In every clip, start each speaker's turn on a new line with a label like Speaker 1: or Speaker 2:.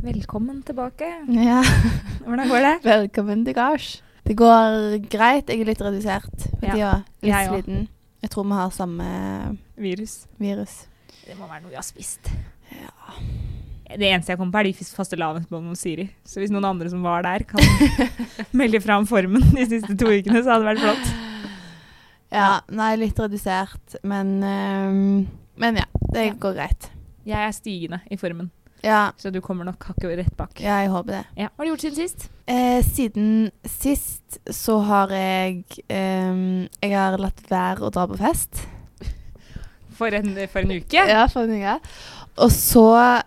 Speaker 1: Velkommen tilbake.
Speaker 2: Ja.
Speaker 1: Hvordan går det?
Speaker 2: Velkommen til gards. Det går greit. Jeg er litt redusert for
Speaker 1: Ja.
Speaker 2: tida. Litt
Speaker 1: Jeg også.
Speaker 2: sliten. Jeg tror vi har samme eh,
Speaker 1: Virus.
Speaker 2: virus.
Speaker 1: Det må være noe vi har spist. Det eneste jeg kommer på, er de fis- faste lavensbåndene hos Siri. Så hvis noen andre som var der, kan melde fra om formen de siste to ukene, så hadde det vært flott.
Speaker 2: Ja, nei, litt redusert, men ehm, Men ja, det
Speaker 1: Ja.
Speaker 2: går greit.
Speaker 1: Jeg er stigende i formen,
Speaker 2: Ja,
Speaker 1: så du kommer nok hakket rett bak.
Speaker 2: ja jeg håper det.
Speaker 1: Ja. Hva har du gjort siden sist?
Speaker 2: Eh, siden sist så har jeg ehm, Jeg har latt være å dra på fest.
Speaker 1: For en, for en uke?
Speaker 2: Ja, for en uke. Og så,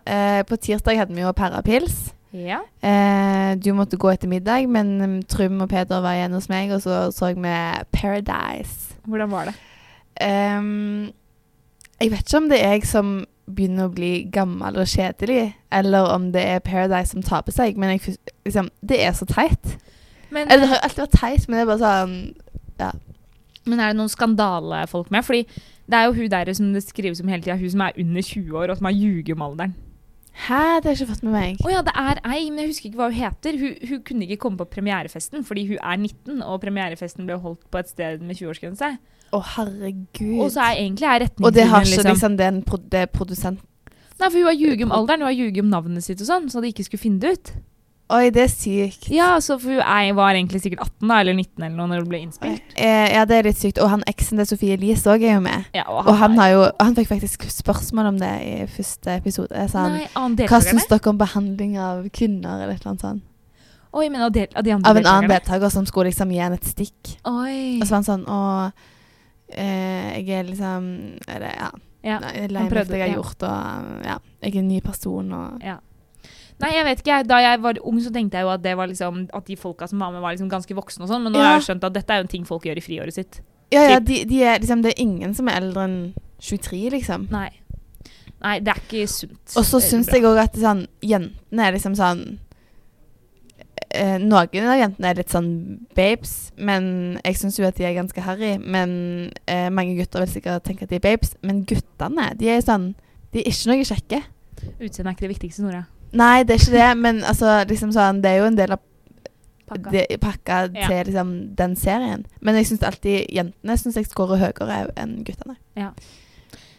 Speaker 2: eh, på tirsdag hadde vi jo parapils.
Speaker 1: Ja.
Speaker 2: Eh, du måtte gå etter middag, men mm, Trym og Peder var igjen hos meg, og så så vi Paradise.
Speaker 1: Hvordan var det?
Speaker 2: Ehm, jeg vet ikke om det er jeg som begynner å bli gammel og kjedelig, eller om det er Paradise som taper seg, men jeg, fys- liksom, det er så
Speaker 1: Mhm.
Speaker 2: teit.
Speaker 1: Men,
Speaker 2: Eller det har jo alltid vært teit, men det er bare sånn
Speaker 1: men er det noen skandalefolk med? Fordi det er jo hun der som det skrives om hele tida, hun som er under 20 år, og som har ljuget om alderen.
Speaker 2: Hæ, det har jeg ikke fått med meg.
Speaker 1: Å ja, det er ei, men jeg husker ikke hva hun heter. Hun, hun kunne ikke komme på premierefesten fordi hun er 19, og premierefesten ble holdt på et sted med 20-årsgrense.
Speaker 2: Å, herregud.
Speaker 1: Og så er egentlig er
Speaker 2: Og det har
Speaker 1: retningslinjen
Speaker 2: ikke
Speaker 1: liksom.
Speaker 2: liksom, det er en pro det er produsent
Speaker 1: Nei, for hun har ljuget om alderen, hun har ljuget om navnet sitt og sånn, så de ikke skulle finne det ut.
Speaker 2: Oi, det er sykt.
Speaker 1: Ja, så for hun er, var egentlig sikkert 18 da, eller 19 eller noe når hun ble innspilt.
Speaker 2: Eh, ja, det er litt sykt. Og han eksen til Sofie Elise òg er jo med.
Speaker 1: Ja,
Speaker 2: Og han, har jo, han fikk faktisk spørsmål om det i første episode. Jeg sa han,
Speaker 1: Nei, annen
Speaker 2: Hva syns
Speaker 1: deltakerne?
Speaker 2: dere om behandling av kvinner? eller et eller annet sånt?
Speaker 1: Oi, men av, del, av de andre
Speaker 2: Av en annen
Speaker 1: deltakerne?
Speaker 2: deltaker som skulle liksom gi henne et stikk. Og
Speaker 1: Oi.
Speaker 2: så var han sånn Å, eh, jeg er liksom Eller ja.
Speaker 1: Ja,
Speaker 2: Nei, jeg er lei
Speaker 1: han
Speaker 2: meg for det jeg har
Speaker 1: prøvde,
Speaker 2: gjort, og ja. Jeg er en ny person, og
Speaker 1: Nei, jeg vet ikke. jeg- Da jeg var ung, så tenkte jeg jo at, det var liksom, at de folka som var med, var liksom ganske voksne og sånn, men nå har
Speaker 2: Ja.
Speaker 1: jeg skjønt at dette er jo en ting folk gjør i friåret sitt.
Speaker 2: Ja, ja, de, de er liksom Det er ingen som er eldre enn 23, liksom.
Speaker 1: Nei. Nei, det er ikke sunt. Eh,
Speaker 2: Og så syns jeg òg at sånn, jentene er liksom sånn eh, Noen av jentene er litt sånn babes, men jeg syns jo at de er ganske harry. Men eh, mange gutter vil sikkert tenke at de er babes, men guttene, de er sånn De er ikke noe kjekke.
Speaker 1: Utseendet er ikke det viktigste, Nora.
Speaker 2: Nei, det er ikke det, men altså, liksom sånn, det er jo en del av
Speaker 1: Pakka.
Speaker 2: de, pakka
Speaker 1: Ja.
Speaker 2: til liksom, den serien. Men jeg syns alltid jentene synes jeg scorer høyere enn guttene.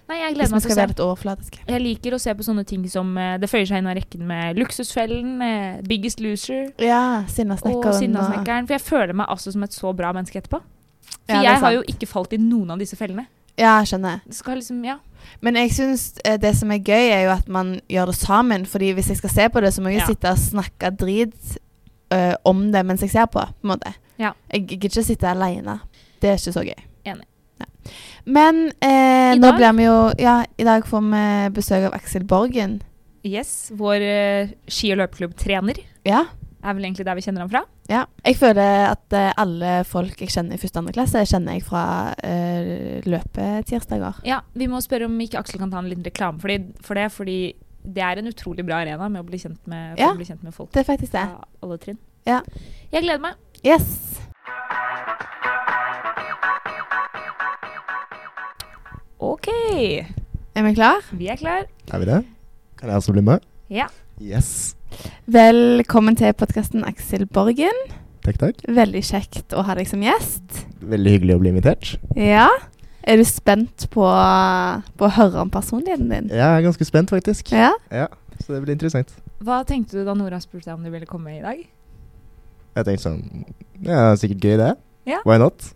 Speaker 1: Nei, jeg gleder meg
Speaker 2: Hvis vi
Speaker 1: til
Speaker 2: skal
Speaker 1: å se.
Speaker 2: være litt overflatiske.
Speaker 1: Jeg liker å se på sånne ting som eh, Det føyer seg inn av rekken med Luksusfellen, eh, Biggest Loser
Speaker 2: Ja,
Speaker 1: og
Speaker 2: Sinnasnekkeren.
Speaker 1: Sinnasnekkeren. For jeg føler meg altså som et så bra menneske etterpå. For
Speaker 2: Ja, det er
Speaker 1: jeg har
Speaker 2: sant.
Speaker 1: jo ikke falt i noen av disse fellene.
Speaker 2: Ja, skjønner.
Speaker 1: Det skal liksom, ja.
Speaker 2: Men jeg syns det som er gøy, er jo at man gjør det sammen. Fordi hvis jeg skal se på det, så må jeg
Speaker 1: Ja.
Speaker 2: jo sitte og snakke drit eh, om det mens jeg ser på. på en måte.
Speaker 1: Ja.
Speaker 2: Jeg gidder ikke sitte aleine. Det er ikke så gøy.
Speaker 1: Enig.
Speaker 2: Ja. Men eh,
Speaker 1: I
Speaker 2: nå
Speaker 1: dag-
Speaker 2: blir vi jo Ja, i dag får vi besøk av Aksel Borgen.
Speaker 1: Yes, vår eh, ski- og løpeklubbtrener
Speaker 2: Ja.
Speaker 1: er vel egentlig der vi kjenner ham fra.
Speaker 2: ja. Jeg føler at eh, alle folk jeg kjenner i første og andre klasse, kjenner jeg fra eh, løpetirsdager.
Speaker 1: Ja, Vi må spørre om ikke Aksel kan ta en liten reklame for det, for det fordi det er en utrolig bra arena med å bli kjent med, for
Speaker 2: Ja.
Speaker 1: å bli kjent med folk.
Speaker 2: Det er faktisk det.
Speaker 1: fra alle trinn.
Speaker 2: Ja.
Speaker 1: Jeg gleder meg.
Speaker 2: Yes.
Speaker 1: OK,
Speaker 2: Er vi klar?
Speaker 1: vi er klar.
Speaker 3: Er vi det? Kan jeg også bli med?
Speaker 1: Ja.
Speaker 3: Yes.
Speaker 2: Velkommen til podkasten Aksel Borgen.
Speaker 3: Takk, takk.
Speaker 2: Veldig kjekt å ha deg som gjest.
Speaker 3: Veldig hyggelig å bli invitert.
Speaker 2: Ja. Er du spent på, på å høre om personligheten din?
Speaker 3: Jeg er ganske spent, faktisk.
Speaker 2: Ja.
Speaker 3: Ja, Så det blir interessant.
Speaker 1: Hva tenkte du da Nora spurte deg om du ville komme i dag?
Speaker 3: Jeg tenkte sånn Ja, sikkert gøy, det.
Speaker 1: Ja.
Speaker 3: Why not?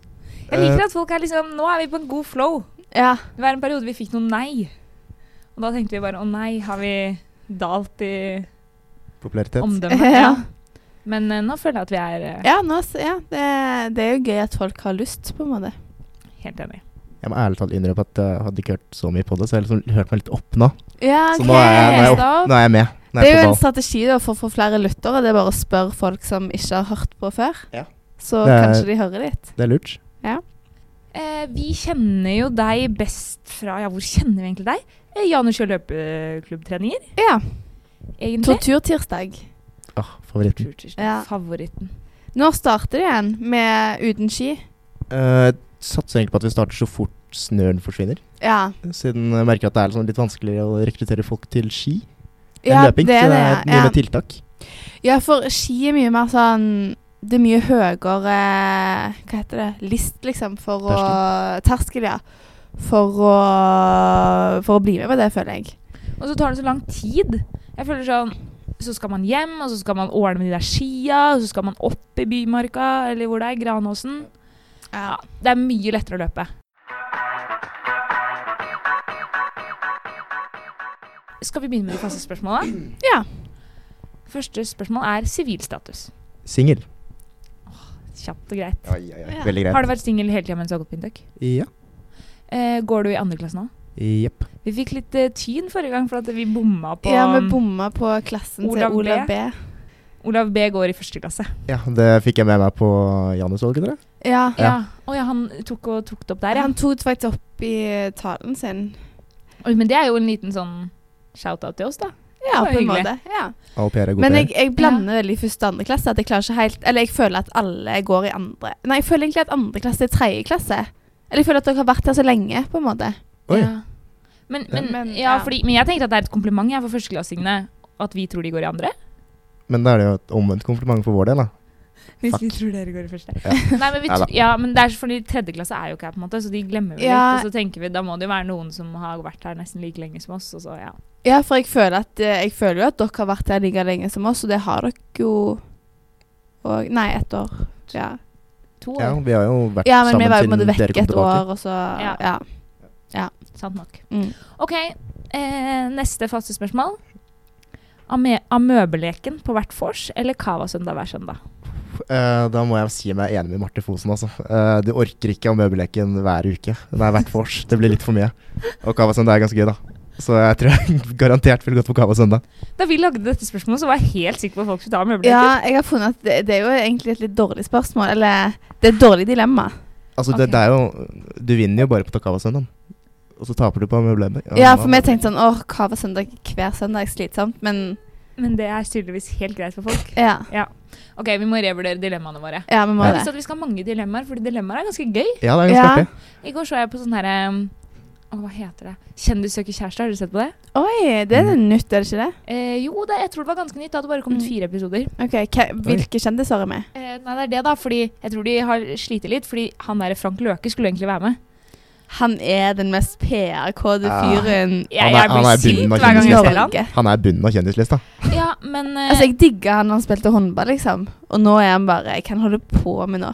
Speaker 1: Jeg liker at folk er liksom Nå er vi på en god flow.
Speaker 2: Ja.
Speaker 1: Det var en periode vi fikk noen nei. Og da tenkte vi bare å nei, har vi dalt i
Speaker 3: Popularitet.
Speaker 1: omdømmet?
Speaker 2: Ja.
Speaker 1: Men eh, nå føler jeg at vi er eh,
Speaker 2: Ja, nå, s- ja det, det er jo gøy at folk har lyst, på en måte.
Speaker 1: helt enig.
Speaker 3: Jeg må ærlig talt innrømme at jeg hadde ikke hørt så mye på det, så jeg har liksom hørt meg litt opp nå.
Speaker 2: Ja,
Speaker 3: Så nå er jeg, nå er jeg,
Speaker 2: stopp.
Speaker 3: opp, nå er jeg med. Nå er
Speaker 2: Det er
Speaker 3: jeg på
Speaker 2: jo en
Speaker 3: ball.
Speaker 2: strategi da, for å få flere lyttere. Det er bare å spørre folk som ikke har hørt på før.
Speaker 3: Ja.
Speaker 2: Så
Speaker 3: Det er-
Speaker 2: kanskje de hører litt.
Speaker 3: Det er lurt.
Speaker 1: Eh, vi kjenner jo deg best fra Ja, hvor kjenner vi egentlig deg? Eh, Janus og løpeklubbtreninger,
Speaker 2: Ja.
Speaker 1: egentlig.
Speaker 2: Torturtirsdag.
Speaker 3: Åh, favoritten.
Speaker 1: Tortur.
Speaker 2: Ja.
Speaker 1: Favoritten.
Speaker 2: Når starter det igjen? Med uten ski?
Speaker 3: Eh, satser egentlig på at vi starter så fort snøen forsvinner,
Speaker 2: Ja.
Speaker 3: siden jeg merker at det er liksom litt vanskeligere å rekruttere folk til ski. En
Speaker 2: Ja,
Speaker 3: løping.
Speaker 2: det er
Speaker 3: så det
Speaker 2: det,
Speaker 3: er mye
Speaker 2: ja.
Speaker 3: med tiltak.
Speaker 2: Ja, for ski er mye mer sånn Det er mye høyere Hva heter det? List, liksom, for å Terskel, ja. For å, for å bli med på det, føler jeg.
Speaker 1: Og så tar det så lang tid. Jeg føler sånn Så skal man hjem, og så skal man ordne med de der skia, og så skal man opp i Bymarka, eller hvor det er, Granåsen. Ja, det er mye lettere å løpe. Skal vi begynne med de faste spørsmålene?
Speaker 2: Ja.
Speaker 1: Første spørsmål er sivilstatus.
Speaker 3: Singel.
Speaker 1: Kjapt og greit.
Speaker 2: oi.
Speaker 3: Veldig greit.
Speaker 1: Har du vært singel hele tida mens du har gått på Induc?
Speaker 3: Ja.
Speaker 1: Eh, går du i andre klasse nå?
Speaker 3: Jepp.
Speaker 1: Vi fikk litt eh, tyn forrige gang for at vi bomma på um,
Speaker 2: ja, vi bomma på klassen
Speaker 1: Olav
Speaker 2: til Olav
Speaker 1: B.
Speaker 2: B.
Speaker 1: Olav B går i første klasse.
Speaker 3: Ja, det fikk jeg med meg på Janusvalget, dere.
Speaker 2: Ja.
Speaker 1: Ja.
Speaker 3: Ja.
Speaker 1: Å ja, han tok, og tok det opp der, ja.
Speaker 2: Han tok det faktisk opp i talen sin.
Speaker 1: Oi, Men det er jo en liten sånn shout-out til oss, da.
Speaker 2: Ja,
Speaker 1: var
Speaker 2: på en
Speaker 1: hyggelig.
Speaker 2: måte. Ja.
Speaker 3: Au pair er god
Speaker 2: Men jeg,
Speaker 3: pair.
Speaker 2: jeg blander veldig første og andre klasse. At jeg klarer ikke helt Eller jeg føler at alle går i andre Nei, jeg føler egentlig at andre klasse er tredje klasse. Eller jeg føler at dere har vært her så lenge, på en måte.
Speaker 3: Oi.
Speaker 1: Ja. Men, men,
Speaker 2: Ja. Men,
Speaker 1: ja,
Speaker 2: ja.
Speaker 1: fordi, men jeg tenkte at det er et kompliment jeg, for førsteklassingene at vi tror de går i andre.
Speaker 3: Men da er det jo et omvendt kompliment for vår del, da.
Speaker 1: Hvis
Speaker 3: Fuck.
Speaker 1: vi tror dere går i første.
Speaker 3: Ja.
Speaker 1: Nei, men, vi,
Speaker 3: Neida.
Speaker 1: tr- ja, men det er så- fordi tredje klasse er jo ikke her, på en måte, så de glemmer vi
Speaker 2: Ja.
Speaker 1: litt. Og så tenker vi da må det jo være noen som har vært her nesten like lenge som oss. Og så, ja.
Speaker 2: Ja, for jeg føler, at, eh, jeg føler jo at dere har vært her like lenge som oss, og det har dere jo og, Nei, ett år. Ja,
Speaker 1: To
Speaker 3: Ja,
Speaker 1: år.
Speaker 3: vi har jo vært
Speaker 2: ja men vi
Speaker 3: sammen
Speaker 2: var jo på en
Speaker 3: siden
Speaker 2: måte
Speaker 3: dere
Speaker 2: vekk
Speaker 3: kom
Speaker 2: et
Speaker 3: tilbake.
Speaker 2: år, og så
Speaker 1: Ja.
Speaker 2: Ja.
Speaker 1: Sant nok.
Speaker 2: Mm.
Speaker 1: OK, eh, neste faste spørsmål. Ame amøbeleken på hvert vors eller Cava-søndag hver søndag?
Speaker 3: Eh, da må jeg si meg enig med Marte Fosen, altså. Eh, du orker ikke å møbelleken hver uke. Nei, hvert vors. Det blir litt for mye. Og Kava Søndag er ganske gøy, da. Så jeg tror jeg garantert ville gått på Kava Søndag.
Speaker 1: Da vi lagde dette spørsmålet, så var jeg helt sikker på at folk skulle ta amøbeleken.
Speaker 2: ja, jeg har funnet at det, det er jo egentlig et litt dårlig spørsmål. Eller det er et dårlig dilemma.
Speaker 3: Altså,
Speaker 1: Ok.
Speaker 3: det, det er jo Du vinner jo bare på Kava Søndag. Og så taper du på møblemmer.
Speaker 2: Ja, for vi tenkte sånn Åh, hva var søndag hver søndag? Slitsomt. Men
Speaker 1: Men det er tydeligvis helt greit for folk.
Speaker 2: ja,
Speaker 1: Ok, vi må revurdere dilemmaene våre.
Speaker 2: ja vi må
Speaker 1: Jeg har
Speaker 2: det.
Speaker 1: lyst til at vi skal ha mange dilemmaer, fordi dilemmaer er ganske gøy.
Speaker 3: Ja, det er ganske
Speaker 2: Ja.
Speaker 3: artig.
Speaker 1: I går så jeg på sånn herre Hva heter det? Kjendis søker kjæreste, har du sett på det?
Speaker 2: Oi, det
Speaker 3: Mm.
Speaker 2: er nytt, er det ikke det?
Speaker 1: Eh, jo, det, jeg tror det var ganske nytt. Det hadde bare kommet
Speaker 2: Mm.
Speaker 1: fire episoder.
Speaker 2: Ok, hva- Hvilke kjendiser er med?
Speaker 1: Eh, nei, det er det, da. Fordi jeg tror de har slitt litt. Fordi han der Frank Løke skulle egentlig være med.
Speaker 2: Han er den mest PR-kåte
Speaker 3: Ja.
Speaker 2: fyren
Speaker 1: Jeg,
Speaker 3: Han er-
Speaker 1: jeg
Speaker 3: han er
Speaker 1: blir sint
Speaker 3: bunnen av
Speaker 1: hver gang
Speaker 2: i
Speaker 1: jeg ser han.
Speaker 2: Norge.
Speaker 3: Han er bunnen av kjendislista.
Speaker 1: Ja, men eh,
Speaker 2: Altså, jeg digga han da han spilte håndball, liksom. Og nå er han bare Jeg kan holde på med nå.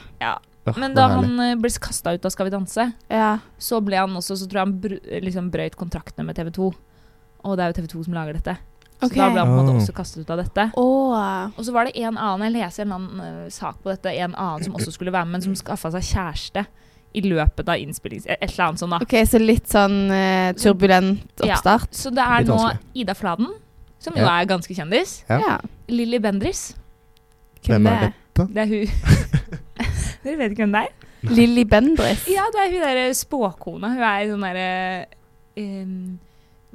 Speaker 3: Åh,
Speaker 1: Men
Speaker 3: det
Speaker 1: da
Speaker 3: er herlig.
Speaker 1: han eh, ble kasta ut av Skal vi danse,
Speaker 2: Ja.
Speaker 1: så ble han også Så tror jeg han br liksom brøyt kontraktene med TV 2. Og det er jo TV 2 som lager dette. Så da ble han på en måte
Speaker 3: Oh.
Speaker 1: også kastet ut av dette. Og så var det en annen, jeg leser en annen eh, sak på dette, en annen som også skulle være med, men som skaffa seg kjæreste i løpet av innspillings... Et eller annet sånt, da.
Speaker 2: OK, så litt sånn eh, turbulent
Speaker 1: Ja.
Speaker 2: oppstart.
Speaker 1: Så det er
Speaker 3: Litt
Speaker 1: nå
Speaker 3: vanskelig.
Speaker 1: Ida Fladen, som jo
Speaker 3: Ja.
Speaker 1: er ganske kjendis.
Speaker 3: Ja.
Speaker 1: Lilly Bendriss.
Speaker 3: Hvem er dette?
Speaker 1: Det er hun Dere vet ikke hvem det er?
Speaker 2: Lilly Bendriss.
Speaker 1: Ja, det er hun derre spåkona. Hun er i sånn derre em,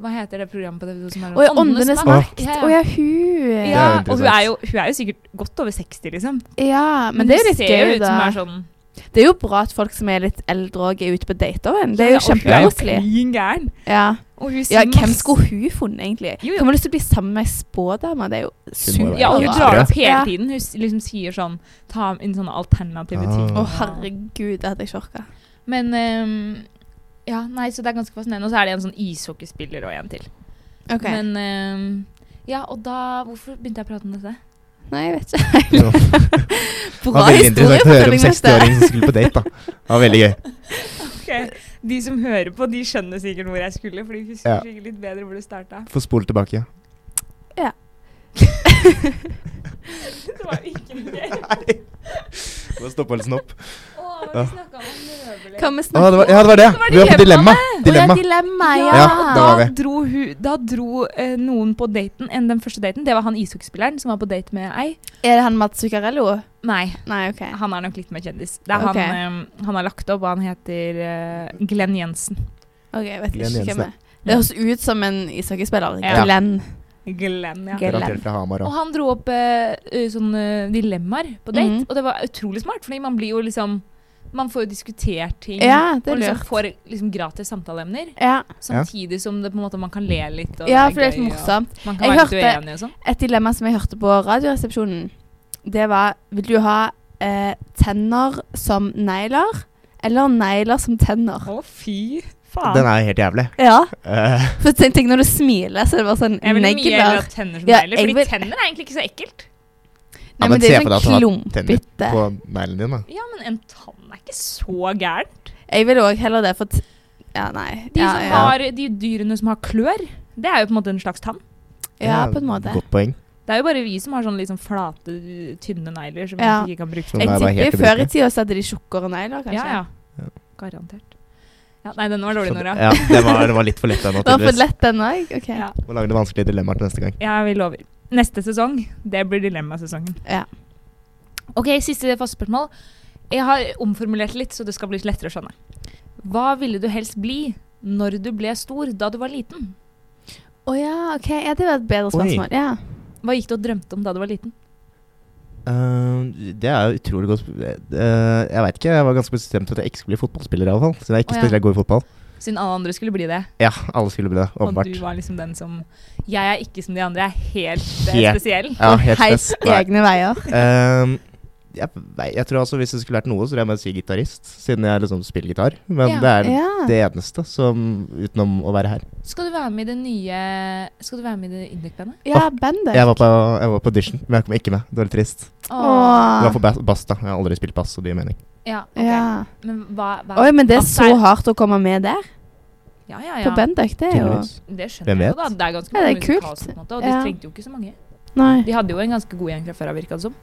Speaker 1: Hva heter det programmet på TV 2 som er
Speaker 2: Å ja, Åndenes makt. Å
Speaker 1: Ja, ja.
Speaker 2: ja, hun.
Speaker 1: ja,
Speaker 3: Det
Speaker 1: og
Speaker 3: er jo
Speaker 1: hun er,
Speaker 3: interessant.
Speaker 1: jo, hun er jo sikkert godt over 60, liksom.
Speaker 2: Ja, men, det er jo
Speaker 1: hun
Speaker 2: litt
Speaker 1: ser jo
Speaker 2: gøy,
Speaker 1: ut
Speaker 2: da.
Speaker 1: som er sånn
Speaker 2: Det er jo bra at folk som er litt eldre òg er ute på date òg. Det er jo
Speaker 1: Ja, og hun er jo
Speaker 2: kjempekoselig.
Speaker 1: klin gæren.
Speaker 2: Ja.
Speaker 1: Og hun
Speaker 2: ja,
Speaker 1: sier
Speaker 2: hvem
Speaker 1: masse-
Speaker 2: skulle hun funnet, egentlig?
Speaker 1: Jo, jo.
Speaker 2: Hun har lyst til å bli sammen med ei spådame. Det er jo
Speaker 3: Hun må jo
Speaker 2: supert.
Speaker 3: være
Speaker 1: Ja, og hun
Speaker 3: helt
Speaker 1: drar
Speaker 3: sprø.
Speaker 1: opp hele
Speaker 2: Ja.
Speaker 1: tiden. Hun s- liksom sier sånn Ta inn sånne alternative
Speaker 3: Ah.
Speaker 1: ting.
Speaker 2: Å, herregud, det hadde jeg ikke orka.
Speaker 1: Men ehm, Ja, nei, så det er ganske fascinerende. Og så er det en sånn ishockeyspiller og en til. Men ehm, Ja, og da Hvorfor begynte jeg å prate om dette?
Speaker 2: Nei, jeg vet ikke.
Speaker 3: Det var- det
Speaker 2: Bra
Speaker 3: var veldig interessant å høre om
Speaker 2: historiefortelling, dette.
Speaker 3: 60-åringen som skulle på date, da. Det var veldig gøy.
Speaker 1: De som hører på, de skjønner sikkert hvor jeg skulle, for de husker
Speaker 3: Ja.
Speaker 1: sikkert litt bedre hvor det starta.
Speaker 3: Få spole tilbake.
Speaker 1: Det var jo ikke noe gøy.
Speaker 3: Få stoppholdelsen opp.
Speaker 1: Å,
Speaker 3: Ja.
Speaker 1: vi snakka om møbler.
Speaker 2: Kan vi
Speaker 3: Å, det
Speaker 2: snakke
Speaker 3: var, ja, det var det.
Speaker 1: Det var
Speaker 3: vi var på dilemma.
Speaker 1: dilemmaene.
Speaker 2: Å,
Speaker 3: Dilemma.
Speaker 2: ja, dilemma, ja.
Speaker 3: Ja, da
Speaker 1: da
Speaker 3: var vi.
Speaker 1: dro, hun, da dro eh, noen på daten enn den første daten. Det var han ishockeyspilleren som var på date med ei.
Speaker 2: Er det han Mats Zuccarello?
Speaker 1: Nei,
Speaker 2: Nei, OK.
Speaker 1: Han er nok litt mer kjendis. Det er
Speaker 2: Ok.
Speaker 1: han, eh, han har lagt opp, og han heter eh, Glenn Jensen.
Speaker 2: Ok, jeg vet
Speaker 3: Glenn
Speaker 2: ikke hvem
Speaker 3: Jensen,
Speaker 2: det er. Det høres ut som en ishockeyspiller.
Speaker 1: Ja.
Speaker 2: Glenn.
Speaker 1: Glenn, ja.
Speaker 2: Glenn.
Speaker 3: Relatert fra Hamar
Speaker 1: Og
Speaker 3: òg.
Speaker 1: han dro opp eh, eh, sånne dilemmaer på date,
Speaker 2: Mhm.
Speaker 1: og det var utrolig smart, fordi man blir jo liksom Man får jo diskutert ting.
Speaker 2: Ja, det er
Speaker 1: og liksom
Speaker 2: lurt.
Speaker 1: får liksom gratis samtaleemner.
Speaker 2: Ja,
Speaker 1: Samtidig som det på en måte man kan le litt. Og
Speaker 2: ja
Speaker 1: er
Speaker 2: for det er
Speaker 1: gøy, og
Speaker 2: litt morsomt.
Speaker 1: Man kan
Speaker 2: Jeg
Speaker 1: være litt
Speaker 2: hørte-
Speaker 1: uenig og sånn.
Speaker 2: Et dilemma som jeg hørte på Radioresepsjonen, det var Vil du ha eh, tenner som negler, eller negler som tenner?
Speaker 1: Å, fy faen.
Speaker 3: Den er jo helt jævlig.
Speaker 2: Ja.
Speaker 3: Eh,
Speaker 2: For tenk, tenk når du smiler, så er det bare sånn
Speaker 1: jeg vil mye heller ha
Speaker 2: negler.
Speaker 1: tenner som
Speaker 2: Ja,
Speaker 1: negler,
Speaker 2: jeg
Speaker 1: fordi
Speaker 2: vil-
Speaker 1: tenner er egentlig ikke så ekkelt.
Speaker 3: Ja,
Speaker 2: Nei,
Speaker 3: men
Speaker 2: men det
Speaker 3: se
Speaker 2: er
Speaker 3: for deg at du
Speaker 2: sånn
Speaker 3: har
Speaker 2: klumpete.
Speaker 3: på neglen din, da.
Speaker 1: Ja, men en tann er ikke så gæren.
Speaker 2: Jeg vil òg heller det, for t Ja, nei.
Speaker 1: De,
Speaker 2: ja,
Speaker 1: som
Speaker 2: ja.
Speaker 1: Har, de dyrene som har klør, det er jo på en måte en slags tann.
Speaker 2: ja,
Speaker 3: Det er
Speaker 2: på en måte.
Speaker 3: Godt poeng.
Speaker 1: Det er jo bare vi som har sånne litt sånn flate, tynne negler som
Speaker 2: Ja.
Speaker 1: vi ikke kan bruke.
Speaker 3: Som
Speaker 2: Jeg
Speaker 3: er bare helt
Speaker 2: tipper Før i
Speaker 3: ubrukelig.
Speaker 2: tida så hadde de tjukkere negler, kanskje.
Speaker 1: Ja,
Speaker 3: Ja.
Speaker 1: ja. Garantert. Ja, nei, den var
Speaker 3: Så
Speaker 1: dårlig,
Speaker 3: det-
Speaker 1: Nora.
Speaker 3: Ja, det var, det var litt for lett, den.
Speaker 2: Det var for
Speaker 3: naturligvis.
Speaker 2: lett, den òg. OK.
Speaker 1: Ja.
Speaker 3: Må lage det vanskelige dilemmaer til neste gang.
Speaker 1: Ja, vi lover. Neste sesong, det blir dilemmasesongen.
Speaker 2: Ja.
Speaker 1: Ok, siste faste spørsmål. Jeg har omformulert litt, så det skal bli litt lettere å skjønne. Hva ville du helst bli når du ble stor, da du var liten?
Speaker 2: Å ja, OK. Ja, det var et bedre
Speaker 3: Oi.
Speaker 2: spørsmål. Ja.
Speaker 1: Hva gikk du og drømte om da du var liten?
Speaker 3: Eh, det er jo utrolig godt eh, Jeg veit ikke, jeg var ganske bestemt på at jeg ikke skulle bli fotballspiller, i alle fall Siden jeg er ikke
Speaker 1: Å, ja.
Speaker 3: spesielt god i fotball.
Speaker 1: Siden alle andre skulle bli det.
Speaker 3: Ja, alle skulle bli det,
Speaker 1: Og
Speaker 3: åpenbart.
Speaker 1: du var liksom den som Jeg er ikke som de andre, jeg er helt, eh,
Speaker 3: Helt.
Speaker 1: spesiell.
Speaker 3: Ja,
Speaker 2: Og
Speaker 3: helt
Speaker 2: helt
Speaker 3: spes. Nei.
Speaker 2: egne veier.
Speaker 3: Ehm, jeg, vei- jeg tror altså Hvis jeg skulle lært noe, så ville jeg bare si gitarist. Siden jeg liksom spiller gitar. Men
Speaker 1: Ja.
Speaker 3: det er
Speaker 2: Ja.
Speaker 3: det eneste som utenom å være her.
Speaker 1: Skal du være med i det nye Skal du være med i det Induc-bandet?
Speaker 2: ja, bandet.
Speaker 3: Jeg var, på, jeg var på audition, men jeg kom ikke med. Det var litt trist. Jeg
Speaker 1: Ah.
Speaker 3: var
Speaker 2: Åh.
Speaker 3: på ba- bass, da. Jeg har aldri spilt bass, så det gir mening.
Speaker 1: Ja, ok.
Speaker 2: Ja.
Speaker 1: Men hva, hva
Speaker 2: Oi, men det er
Speaker 1: Altså,
Speaker 2: så hardt å komme med der,
Speaker 1: Ja, ja, ja.
Speaker 2: på Bendik. Det er jo
Speaker 3: Tydeligvis.
Speaker 1: Det
Speaker 3: Hvem
Speaker 1: skjønner jeg jo, da.
Speaker 3: vet?
Speaker 1: Det er ganske
Speaker 2: Ja,
Speaker 1: mange
Speaker 2: det er
Speaker 1: musikaler
Speaker 2: kult.
Speaker 1: på en måte, og de
Speaker 2: Ja.
Speaker 1: trengte jo ikke så mange.
Speaker 2: Nei.
Speaker 1: De hadde jo en ganske god gjeng fra før av, virka det som.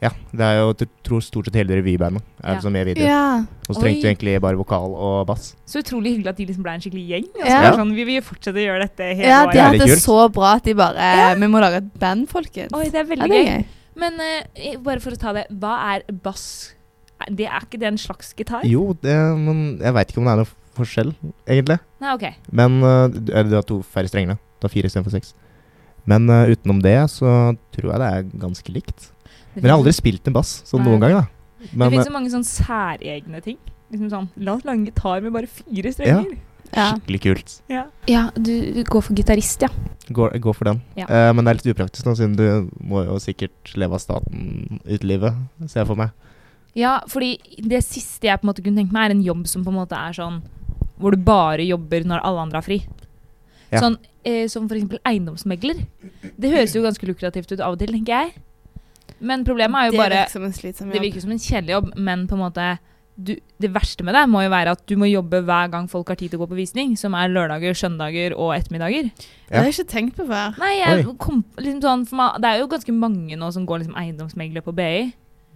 Speaker 3: Ja, det er jo jeg tror stort sett hele revybandet. Er
Speaker 1: Ja.
Speaker 3: liksom med i video.
Speaker 2: Ja.
Speaker 3: Og så
Speaker 1: Oi.
Speaker 3: trengte vi egentlig bare vokal og bass.
Speaker 1: Så utrolig hyggelig at de liksom ble en skikkelig gjeng. Og så
Speaker 2: Ja.
Speaker 1: var det sånn, vi vil fortsette å gjøre dette hele
Speaker 2: ja, de
Speaker 1: året.
Speaker 3: er
Speaker 2: har hatt
Speaker 3: litt
Speaker 2: det
Speaker 3: kult.
Speaker 2: så bra at de bare Vi må lage et band, folkens.
Speaker 1: Oi, det er
Speaker 2: ja,
Speaker 1: veldig
Speaker 2: det er
Speaker 1: gøy.
Speaker 2: gøy.
Speaker 1: Men eh, bare for å ta det, hva er bass? Er- Det er ikke det en slags gitar?
Speaker 3: Jo, det, men jeg veit ikke om det er noen forskjell, egentlig.
Speaker 1: Nei, ok.
Speaker 3: Men øh, du- Eller du har to færre strenger, da. Du har fire istedenfor seks. Men øh, utenom det så tror jeg det er ganske likt. Men jeg har aldri spilt en bass sånn
Speaker 1: Nei.
Speaker 3: noen gang, da.
Speaker 1: det
Speaker 3: Men
Speaker 1: finnes
Speaker 3: øh,
Speaker 1: så mange sånn særegne ting. Liksom sånn, La oss lage en gitar med bare fire
Speaker 3: Ja.
Speaker 1: strenger.
Speaker 2: Ja.
Speaker 3: skikkelig kult.
Speaker 1: Ja, du, du går for gitarist, ja.
Speaker 3: Gå, gå for den.
Speaker 1: Ja.
Speaker 3: Eh, men det er litt upraktisk nå, siden du må jo sikkert leve av staten ut livet, ser jeg for meg.
Speaker 1: Ja, fordi det siste jeg på en måte kunne tenke meg, er en jobb som på en måte er sånn Hvor du bare jobber når alle andre har fri.
Speaker 3: Ja.
Speaker 1: Sånn, eh, som f.eks. eiendomsmegler. Det høres jo ganske lukrativt ut av og til, tenker jeg. Men problemet er jo bare
Speaker 2: virker som liksom en slitsom
Speaker 1: Det virker som en kjedelig jobb, men på en måte du, Det verste med det må jo være at du må jobbe hver gang folk har tid til å gå på visning, som er lørdager, søndager og ettermiddager.
Speaker 2: Det har jeg ikke tenkt på før.
Speaker 1: Nei, jeg
Speaker 3: Oi.
Speaker 1: kom, liksom sånn, for meg, Det er jo ganske mange nå som går liksom eiendomsmegler på BI.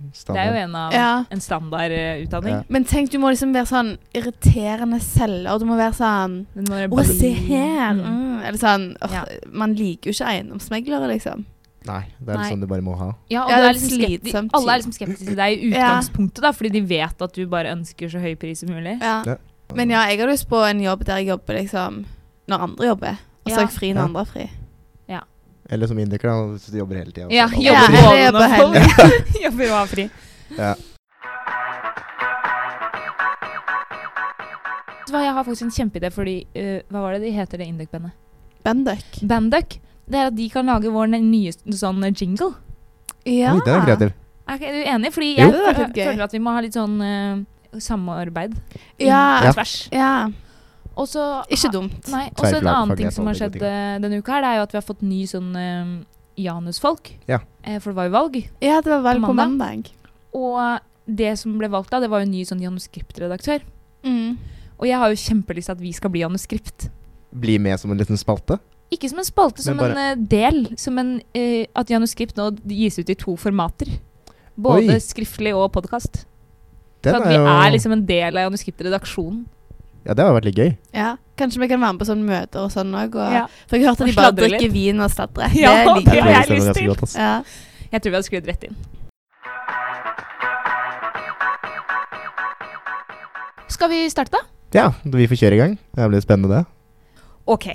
Speaker 1: Det er jo en, av,
Speaker 2: Ja.
Speaker 1: en standard eh, utdanning.
Speaker 3: Ja.
Speaker 2: Men tenk, du må liksom være sånn irriterende selger. Du må være sånn
Speaker 1: Den var
Speaker 2: Å,
Speaker 1: blid.
Speaker 2: se her!
Speaker 1: Mm.
Speaker 2: Mm. Eller sånn åh,
Speaker 1: Ja.
Speaker 2: Man liker jo ikke eiendomsmeglere, liksom.
Speaker 3: Nei, det er
Speaker 1: Nei.
Speaker 3: liksom du bare må ha.
Speaker 1: Ja, og
Speaker 2: Ja,
Speaker 1: du
Speaker 2: det
Speaker 1: er
Speaker 2: er
Speaker 1: liksom
Speaker 2: slitsomt.
Speaker 1: skeptisk, alle er liksom skeptiske til deg i
Speaker 2: Ja.
Speaker 1: utgangspunktet, da, fordi de vet at du bare ønsker så høy pris som mulig.
Speaker 2: Ja.
Speaker 3: Ja.
Speaker 2: Men ja, jeg har lyst på en jobb der jeg jobber liksom når andre jobber. Og så
Speaker 1: Ja.
Speaker 2: er jeg fri når
Speaker 3: Ja.
Speaker 2: andre er fri.
Speaker 3: Eller som indiker, da. Hvis du jobber hele tida.
Speaker 1: Ja,
Speaker 2: Ja,
Speaker 1: jobber
Speaker 2: eller
Speaker 1: oven
Speaker 2: jobber
Speaker 1: og folk. Jobber og har fri.
Speaker 3: Ja.
Speaker 1: Vet du hva, Jeg har faktisk en kjempeidé, fordi eh, Hva var det de heter, det Induc-bandet?
Speaker 2: Bendik.
Speaker 1: Banduc. Det er at de kan lage vår nye sånn jingle.
Speaker 2: Ja.
Speaker 3: Oi, den er kreativ.
Speaker 1: Er ikke- er du enig? Fordi jeg
Speaker 3: Jo.
Speaker 2: Det hadde vært litt gøy.
Speaker 1: føler at vi må ha litt sånn eh, samarbeid på
Speaker 2: Ja.
Speaker 1: tvers.
Speaker 2: ja.
Speaker 1: Og så
Speaker 2: Ikke dumt.
Speaker 1: Nei, og så en
Speaker 3: Tverrfaglig
Speaker 1: annen ting
Speaker 3: faglighet
Speaker 1: som har
Speaker 3: er
Speaker 1: skjedd
Speaker 3: alltid en god
Speaker 1: eh, denne uka her, det er jo at vi har fått ny sånn eh, Janus-folk.
Speaker 3: Ja.
Speaker 1: Eh, for det var jo valg.
Speaker 2: Ja, det var valg
Speaker 1: På
Speaker 2: på mandag.
Speaker 1: Og det som ble valgt da, det var jo en ny sånn Janus-skript-redaktør.
Speaker 2: Mm.
Speaker 1: Og jeg har jo kjempelyst til at vi skal bli Janus-skript.
Speaker 3: Bli med som en liten spalte.
Speaker 1: Ikke som en spalte, som
Speaker 3: Men
Speaker 1: en
Speaker 3: bare-
Speaker 1: eh, del. Som en, eh, at Janus-skript nå gis ut i to formater. Både
Speaker 3: Oi.
Speaker 1: skriftlig og podkast. Så
Speaker 3: Den
Speaker 1: at vi er liksom en del av Janus-skript-redaksjonen.
Speaker 3: Ja, det har vært litt gøy.
Speaker 2: Ja. Kanskje vi kan være med på sånne møter og sånn òg. og-
Speaker 1: Ja.
Speaker 2: For jeg har hørt at
Speaker 1: Og
Speaker 2: de bare
Speaker 1: sladre
Speaker 2: drikker vin og sladrer.
Speaker 1: Ja,
Speaker 2: det liker
Speaker 1: det
Speaker 3: Jeg
Speaker 1: har
Speaker 2: jeg.
Speaker 3: tror
Speaker 1: jeg
Speaker 3: det
Speaker 1: lyst
Speaker 3: stemmer ganske
Speaker 1: til.
Speaker 3: godt, ass.
Speaker 2: Ja.
Speaker 1: Jeg tror vi hadde skrevet rett inn. Skal vi starte, da?
Speaker 3: Ja, vi får kjøre i gang. Det blir spennende, det.
Speaker 1: Ok.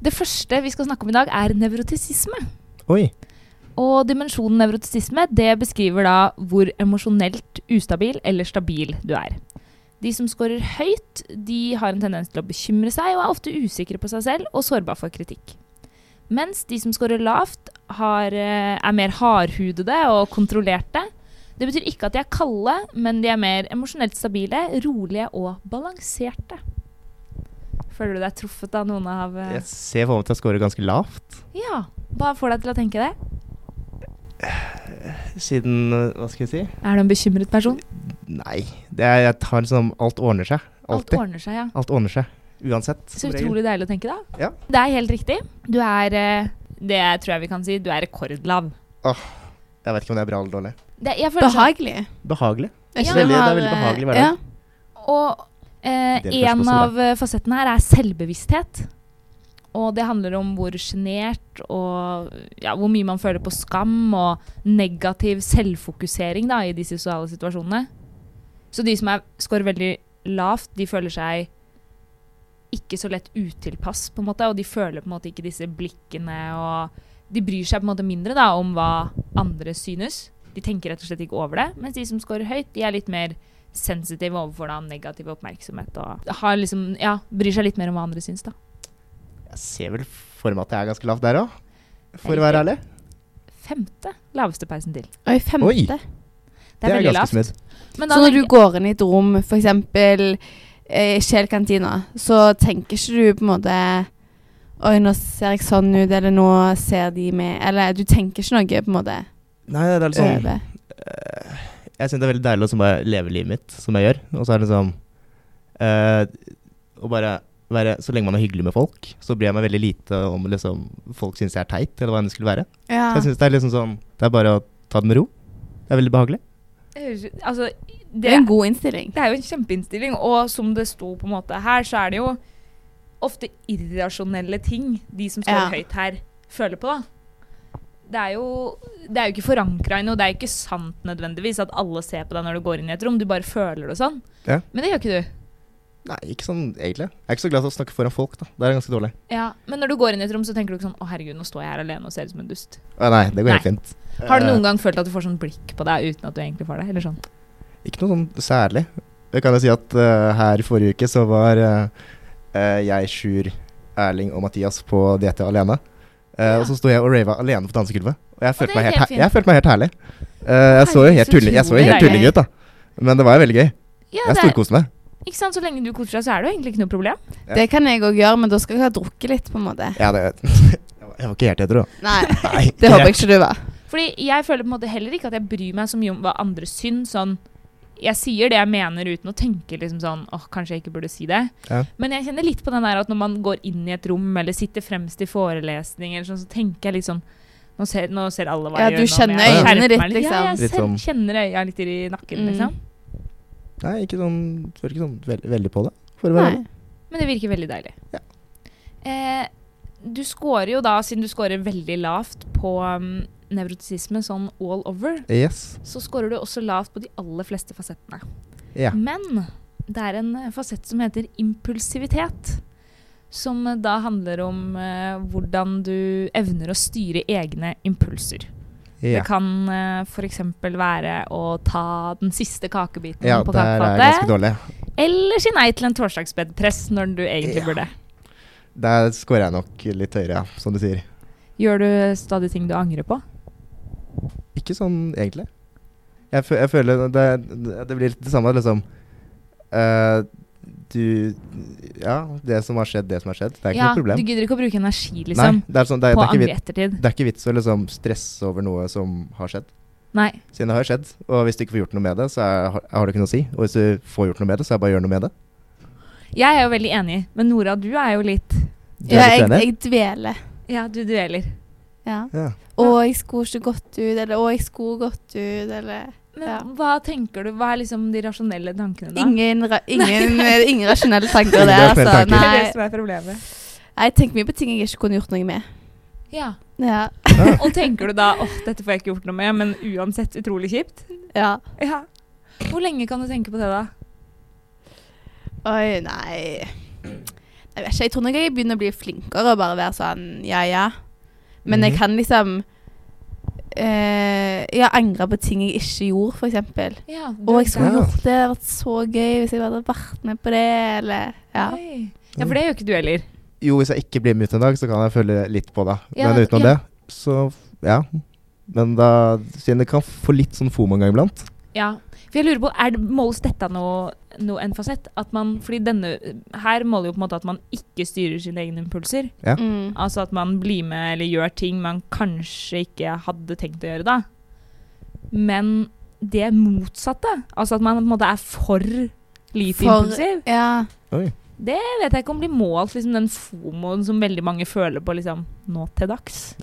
Speaker 1: Det første vi skal snakke om i dag, er nevrotisisme.
Speaker 3: Oi.
Speaker 1: Og dimensjonen nevrotisisme det beskriver da hvor emosjonelt ustabil eller stabil du er. De som scorer høyt, de har en tendens til å bekymre seg og er ofte usikre på seg selv og sårbar for kritikk. Mens de som scorer lavt, har, eh, er mer hardhudede og kontrollerte. Det betyr ikke at de er kalde, men de er mer emosjonelt stabile, rolige og balanserte. Føler du deg truffet av noen av eh,
Speaker 3: Jeg ser for meg at jeg scorer ganske lavt.
Speaker 1: Ja. Hva får deg til å tenke det?
Speaker 3: Siden eh, Hva skal jeg si?
Speaker 1: Er du en bekymret person?
Speaker 3: Nei. Det er, jeg tar liksom Alt ordner seg.
Speaker 1: Alt
Speaker 3: Alltid.
Speaker 1: ordner seg, ja.
Speaker 3: Alt ordner seg. Uansett.
Speaker 1: Så
Speaker 3: som regel.
Speaker 1: utrolig deilig å tenke, da.
Speaker 3: Ja.
Speaker 1: Det er helt riktig. Du er eh, Det tror jeg vi kan si. Du er rekordlav.
Speaker 3: Jeg vet ikke om det er bra eller dårlig.
Speaker 1: Det, jeg føler sånn-
Speaker 2: Behagelig.
Speaker 3: Behagelig.
Speaker 2: Er
Speaker 1: Ja.
Speaker 2: det vi
Speaker 3: Veldig- det er
Speaker 2: har,
Speaker 3: veldig behagelig hverdag.
Speaker 2: Ja.
Speaker 1: Og eh,
Speaker 3: Det er det første
Speaker 1: en
Speaker 3: også,
Speaker 1: av eh, fasettene her er selvbevissthet. Og det handler om hvor sjenert og ja, hvor mye man føler på skam og negativ selvfokusering da, i de sosiale situasjonene. Så de som er, scorer veldig lavt, de føler seg ikke så lett utilpass, på en måte, og de føler på en måte ikke disse blikkene og De bryr seg på en måte mindre da, om hva andre synes. De tenker rett og slett ikke over det. Mens de som scorer høyt, de er litt mer sensitiv overfor da, negativ oppmerksomhet og har liksom, ja, bryr seg litt mer om hva andre syns. da.
Speaker 3: Jeg ser vel for meg at jeg er ganske lavt der òg, for
Speaker 1: Det
Speaker 3: å
Speaker 1: er
Speaker 3: være ærlig.
Speaker 1: Femte laveste persentil.
Speaker 2: Oi, femte.
Speaker 3: Oi.
Speaker 1: Det er, veldig lavt.
Speaker 3: ganske smooth.
Speaker 1: Men da,
Speaker 2: Så når du
Speaker 1: tenker-
Speaker 2: går inn i et rom, f.eks. Eh, Kjell kantina, så tenker ikke du på en måte Oi, nå ser jeg sånn ut, eller nå ser de meg Eller du tenker ikke noe på en måte
Speaker 3: Nei, det er litt sånn
Speaker 2: over.
Speaker 3: eh, Jeg syns det er veldig deilig å liksom bare leve livet mitt som jeg gjør. Og så er det liksom eh, Å bare være Så lenge man er hyggelig med folk, så bryr jeg meg veldig lite om liksom folk syns jeg er teit, eller hva enn det skulle være.
Speaker 1: Ah.
Speaker 2: Ja.
Speaker 3: Jeg synes Det er liksom sånn Det er bare å ta det med ro. Det er veldig behagelig.
Speaker 1: altså,
Speaker 2: Det
Speaker 1: det,
Speaker 2: er en god innstilling.
Speaker 1: det er jo en kjempeinnstilling, og som det sto på en måte her, så er det jo ofte irrasjonelle ting de som står
Speaker 2: Ja.
Speaker 1: høyt her, føler på. da. Det er jo, det er jo ikke forankra i noe, det er jo ikke sant nødvendigvis at alle ser på deg når du går inn i et rom, du bare føler det sånn.
Speaker 3: Ja.
Speaker 1: Men det gjør ikke du.
Speaker 3: Nei, ikke sånn egentlig. Jeg er ikke så glad i å snakke foran folk, da. Det er ganske dårlig.
Speaker 1: Ja, Men når du går inn i et rom, så tenker du ikke sånn 'Å, herregud, nå står jeg her alene og ser ut som en dust'.
Speaker 3: Å, nei, det går helt
Speaker 1: Nei.
Speaker 3: fint.
Speaker 1: Har du
Speaker 3: Eh,
Speaker 1: noen gang følt at du får sånn blikk på deg uten at du egentlig får det? Eller sånn?
Speaker 3: Ikke noe sånn særlig. Jeg kan jo si at eh, her i forrige uke så var eh, eh, jeg, Sjur, Erling og Mathias på DT alene. Eh,
Speaker 1: Ja.
Speaker 3: Og så sto jeg og rava alene på dansegulvet. Og jeg
Speaker 1: det
Speaker 3: følte,
Speaker 1: er
Speaker 3: meg helt,
Speaker 1: helt
Speaker 3: her-
Speaker 1: fint.
Speaker 3: jeg følte meg helt herlig. Eh, jeg så jo
Speaker 2: Herregud,
Speaker 3: helt
Speaker 2: så
Speaker 3: tulling, jeg så jo
Speaker 1: utrolig
Speaker 3: helt tulling
Speaker 1: deilig.
Speaker 3: ut, da. Men det var jo veldig gøy.
Speaker 1: Ja,
Speaker 3: Jeg storkoste meg.
Speaker 1: ikke sant? Så lenge du koser deg, så er det jo egentlig ikke noe problem.
Speaker 3: Ja.
Speaker 2: Det kan jeg òg gjøre, men da skal jeg ha drukket litt, på en måte.
Speaker 3: Ja, det, jeg var ikke helt edru, da.
Speaker 2: Nei,
Speaker 3: Nei,
Speaker 2: det håper jeg ikke du var.
Speaker 1: Fordi jeg føler på en måte heller ikke at jeg bryr meg så mye om hva andre syns. Sånn, jeg sier det jeg mener uten å tenke liksom sånn åh, kanskje jeg ikke burde si det.
Speaker 3: Ja.
Speaker 1: Men jeg kjenner litt på den der at når man går inn i et rom eller sitter fremst i forelesning, eller sånn, så tenker jeg litt sånn nå ser, nå ser alle hva
Speaker 2: Ja,
Speaker 1: jeg
Speaker 2: du
Speaker 1: gjør. nå, men
Speaker 2: kjenner
Speaker 1: jeg
Speaker 2: øynene
Speaker 1: skjerper
Speaker 2: ditt,
Speaker 1: meg litt. Ja,
Speaker 2: liksom.
Speaker 1: jeg
Speaker 3: Litt
Speaker 1: selv
Speaker 3: sånn-
Speaker 1: kjenner øya litt i nakken,
Speaker 2: Mm.
Speaker 1: liksom.
Speaker 3: Nei, ikke sånn Følte ikke sånn veld, veldig på det. For å være
Speaker 2: Nei.
Speaker 3: ærlig.
Speaker 1: Men det virker veldig deilig.
Speaker 3: Ja.
Speaker 1: Eh, du scorer jo da, siden du scorer veldig lavt på um, nevrotisisme, sånn all over,
Speaker 3: Yes.
Speaker 1: så scorer du også lavt på de aller fleste fasettene.
Speaker 3: Ja.
Speaker 1: Men det er en eh, fasett som heter impulsivitet. Som eh, da handler om eh, hvordan du evner å styre egne impulser. Det
Speaker 3: ja.
Speaker 1: kan eh, f.eks. være å ta den siste kakebiten
Speaker 3: ja
Speaker 1: på
Speaker 3: der er jeg
Speaker 1: kakefatet.
Speaker 3: ganske dårlig.
Speaker 1: Eller si nei til en torsdagsbedpress når du egentlig
Speaker 3: Ja.
Speaker 1: burde.
Speaker 3: Der scorer jeg nok litt høyere, ja, som du sier.
Speaker 1: Gjør du stadig ting du angrer på?
Speaker 3: Ikke sånn, egentlig. Jeg, fø jeg føler det, det, det blir litt det samme, liksom. Eh, du Ja, det som har skjedd, det som har skjedd. Det er ikke noe problem.
Speaker 1: Du gidder ikke å bruke energi liksom,
Speaker 3: Nei, det er, sånn, det, er,
Speaker 1: på å
Speaker 3: det, er ikke
Speaker 1: angre
Speaker 3: vits,
Speaker 1: ettertid.
Speaker 3: det er ikke vits å liksom stresse over noe som har skjedd.
Speaker 1: Nei.
Speaker 3: Siden det har skjedd, og hvis du ikke får gjort noe med det, så er, har, har det ikke noe å si. Og hvis du får gjort noe med det, så er det bare å gjøre noe med det.
Speaker 1: Jeg er jo veldig enig, men Nora, du er jo litt
Speaker 3: Du
Speaker 2: Ja,
Speaker 3: er litt
Speaker 2: jeg,
Speaker 3: enig?
Speaker 2: jeg dveler.
Speaker 1: Ja, du dueller.
Speaker 2: Ja.
Speaker 3: Ja.
Speaker 2: Å, jeg skulle ikke gått ut, eller å, jeg skulle gått ut, eller
Speaker 1: Men
Speaker 2: Ja.
Speaker 1: hva tenker du? Hva er liksom de rasjonelle tankene da?
Speaker 2: Ingen, ra ingen, ingen rasjonelle tanker
Speaker 3: Ingen
Speaker 2: der,
Speaker 3: rasjonelle
Speaker 2: altså.
Speaker 3: tanker.
Speaker 1: Det er det
Speaker 2: Nei,
Speaker 1: som er problemet.
Speaker 2: jeg tenker mye på ting jeg ikke kunne gjort noe med.
Speaker 1: Ja.
Speaker 2: Ja.
Speaker 1: Og tenker du da åh, dette får jeg ikke gjort noe med, men uansett utrolig kjipt?
Speaker 2: ja.
Speaker 1: Ja. Hvor lenge kan du tenke på det, da?
Speaker 2: Oi, nei Jeg vet ikke, jeg tror nok jeg begynner å bli flinkere og bare være sånn ja, ja. Men jeg
Speaker 3: Mhm.
Speaker 2: kan liksom eh, jeg har angra på ting jeg ikke gjorde, f.eks.
Speaker 1: Ja, du
Speaker 2: Og
Speaker 1: er
Speaker 2: jeg skulle
Speaker 1: der.
Speaker 3: Ja.
Speaker 2: gjort det. Det hadde vært så gøy hvis jeg hadde vært med på det, eller Ja.
Speaker 1: Oi. ja, for det gjør ikke du heller.
Speaker 3: Jo, hvis jeg ikke blir med ut en dag, så kan jeg følge litt på det.
Speaker 1: Ja,
Speaker 3: Men utenom
Speaker 1: ja.
Speaker 3: det, så ja. Men da Siden det kan få litt sånn FOMO en gang iblant.
Speaker 1: Ja, for jeg lurer på, er det, måles dette noe, noe en fasett? At man, fordi denne, her måler jo på en måte at man ikke styrer sine egne impulser.
Speaker 3: Ja.
Speaker 2: Mm.
Speaker 1: Altså at man blir med eller gjør ting man kanskje ikke hadde tenkt å gjøre da. Men det motsatte, altså at man på en måte er for lite
Speaker 2: For-
Speaker 1: impulsiv,
Speaker 2: ja.
Speaker 3: Oi.
Speaker 1: det vet jeg ikke om blir målt, liksom den fomoen som veldig mange føler på liksom nå til dags.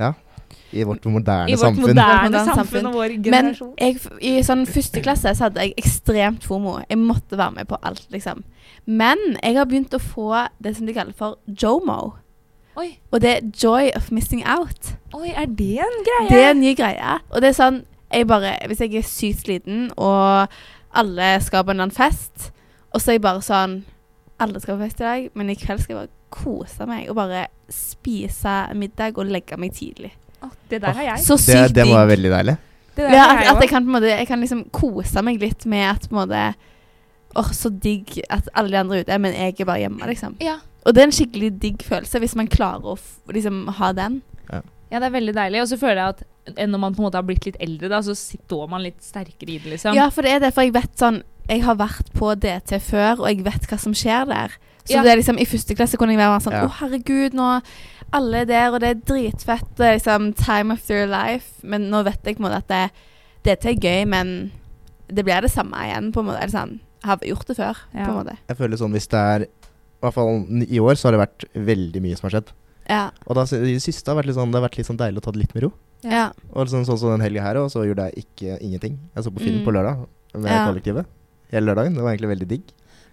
Speaker 3: I vårt moderne
Speaker 1: I vårt
Speaker 2: Vårt
Speaker 3: samfunn.
Speaker 1: moderne
Speaker 2: moderne
Speaker 1: samfunn og vår
Speaker 2: Men
Speaker 1: generasjon.
Speaker 2: jeg, f- i sånn første klasse så hadde jeg ekstremt fomo. Jeg måtte være med på alt, liksom. Men jeg har begynt å få det som de kaller for jomo.
Speaker 1: oi,
Speaker 2: Og det er joy of missing out.
Speaker 1: oi, er det en greie?
Speaker 2: Det er en ny greie. Og det er sånn jeg bare, Hvis jeg er sykt sliten, og alle skal på en eller annen fest, og så er jeg bare sånn Alle skal på fest i dag, men i kveld skal jeg bare kose meg og bare spise middag og legge meg tidlig.
Speaker 1: Å, det der har jeg.
Speaker 2: Så
Speaker 3: Det,
Speaker 2: sykt
Speaker 3: det
Speaker 2: digg.
Speaker 3: var veldig deilig.
Speaker 1: Det der
Speaker 2: Ja,
Speaker 1: har
Speaker 2: at, at jeg
Speaker 1: jeg òg.
Speaker 2: kan på en måte Jeg kan liksom kose meg litt med at på en måte Åh, så digg at alle de andre er ute, men jeg er bare hjemme, liksom.
Speaker 1: Ja.
Speaker 2: Og det er en skikkelig digg følelse hvis man klarer å f liksom ha den.
Speaker 1: ja, det er veldig deilig. Og så føler jeg at eh, når man på en måte har blitt litt eldre, da, så står man litt sterkere i det, liksom.
Speaker 2: Ja, for det er derfor jeg vet sånn Jeg har vært på DT før, og jeg vet hva som skjer der. Så
Speaker 1: Ja.
Speaker 2: det er liksom, i første klasse kunne jeg være sånn Å,
Speaker 3: Ja.
Speaker 2: herregud, nå Alle er der, og det er dritfett. Det er liksom time of their life. Men nå vet jeg på en måte at det, DT er gøy, men det blir det samme igjen, på en måte. Eller sånn Har gjort det før, på
Speaker 1: Ja.
Speaker 2: en måte.
Speaker 3: Jeg føler sånn hvis det er I hvert fall n- i år så har det vært veldig mye som har skjedd.
Speaker 2: Ja.
Speaker 3: Og da, i det siste har det vært litt sånn, det har vært litt sånn deilig å ta det litt med ro.
Speaker 1: Ja.
Speaker 2: ja.
Speaker 3: Og liksom sånn som den helga her, og så gjorde jeg ikke ingenting. Jeg så på film
Speaker 2: Mm.
Speaker 3: på lørdag med
Speaker 2: Ja.
Speaker 3: kollektivet. Hele lørdagen. Det var egentlig veldig digg.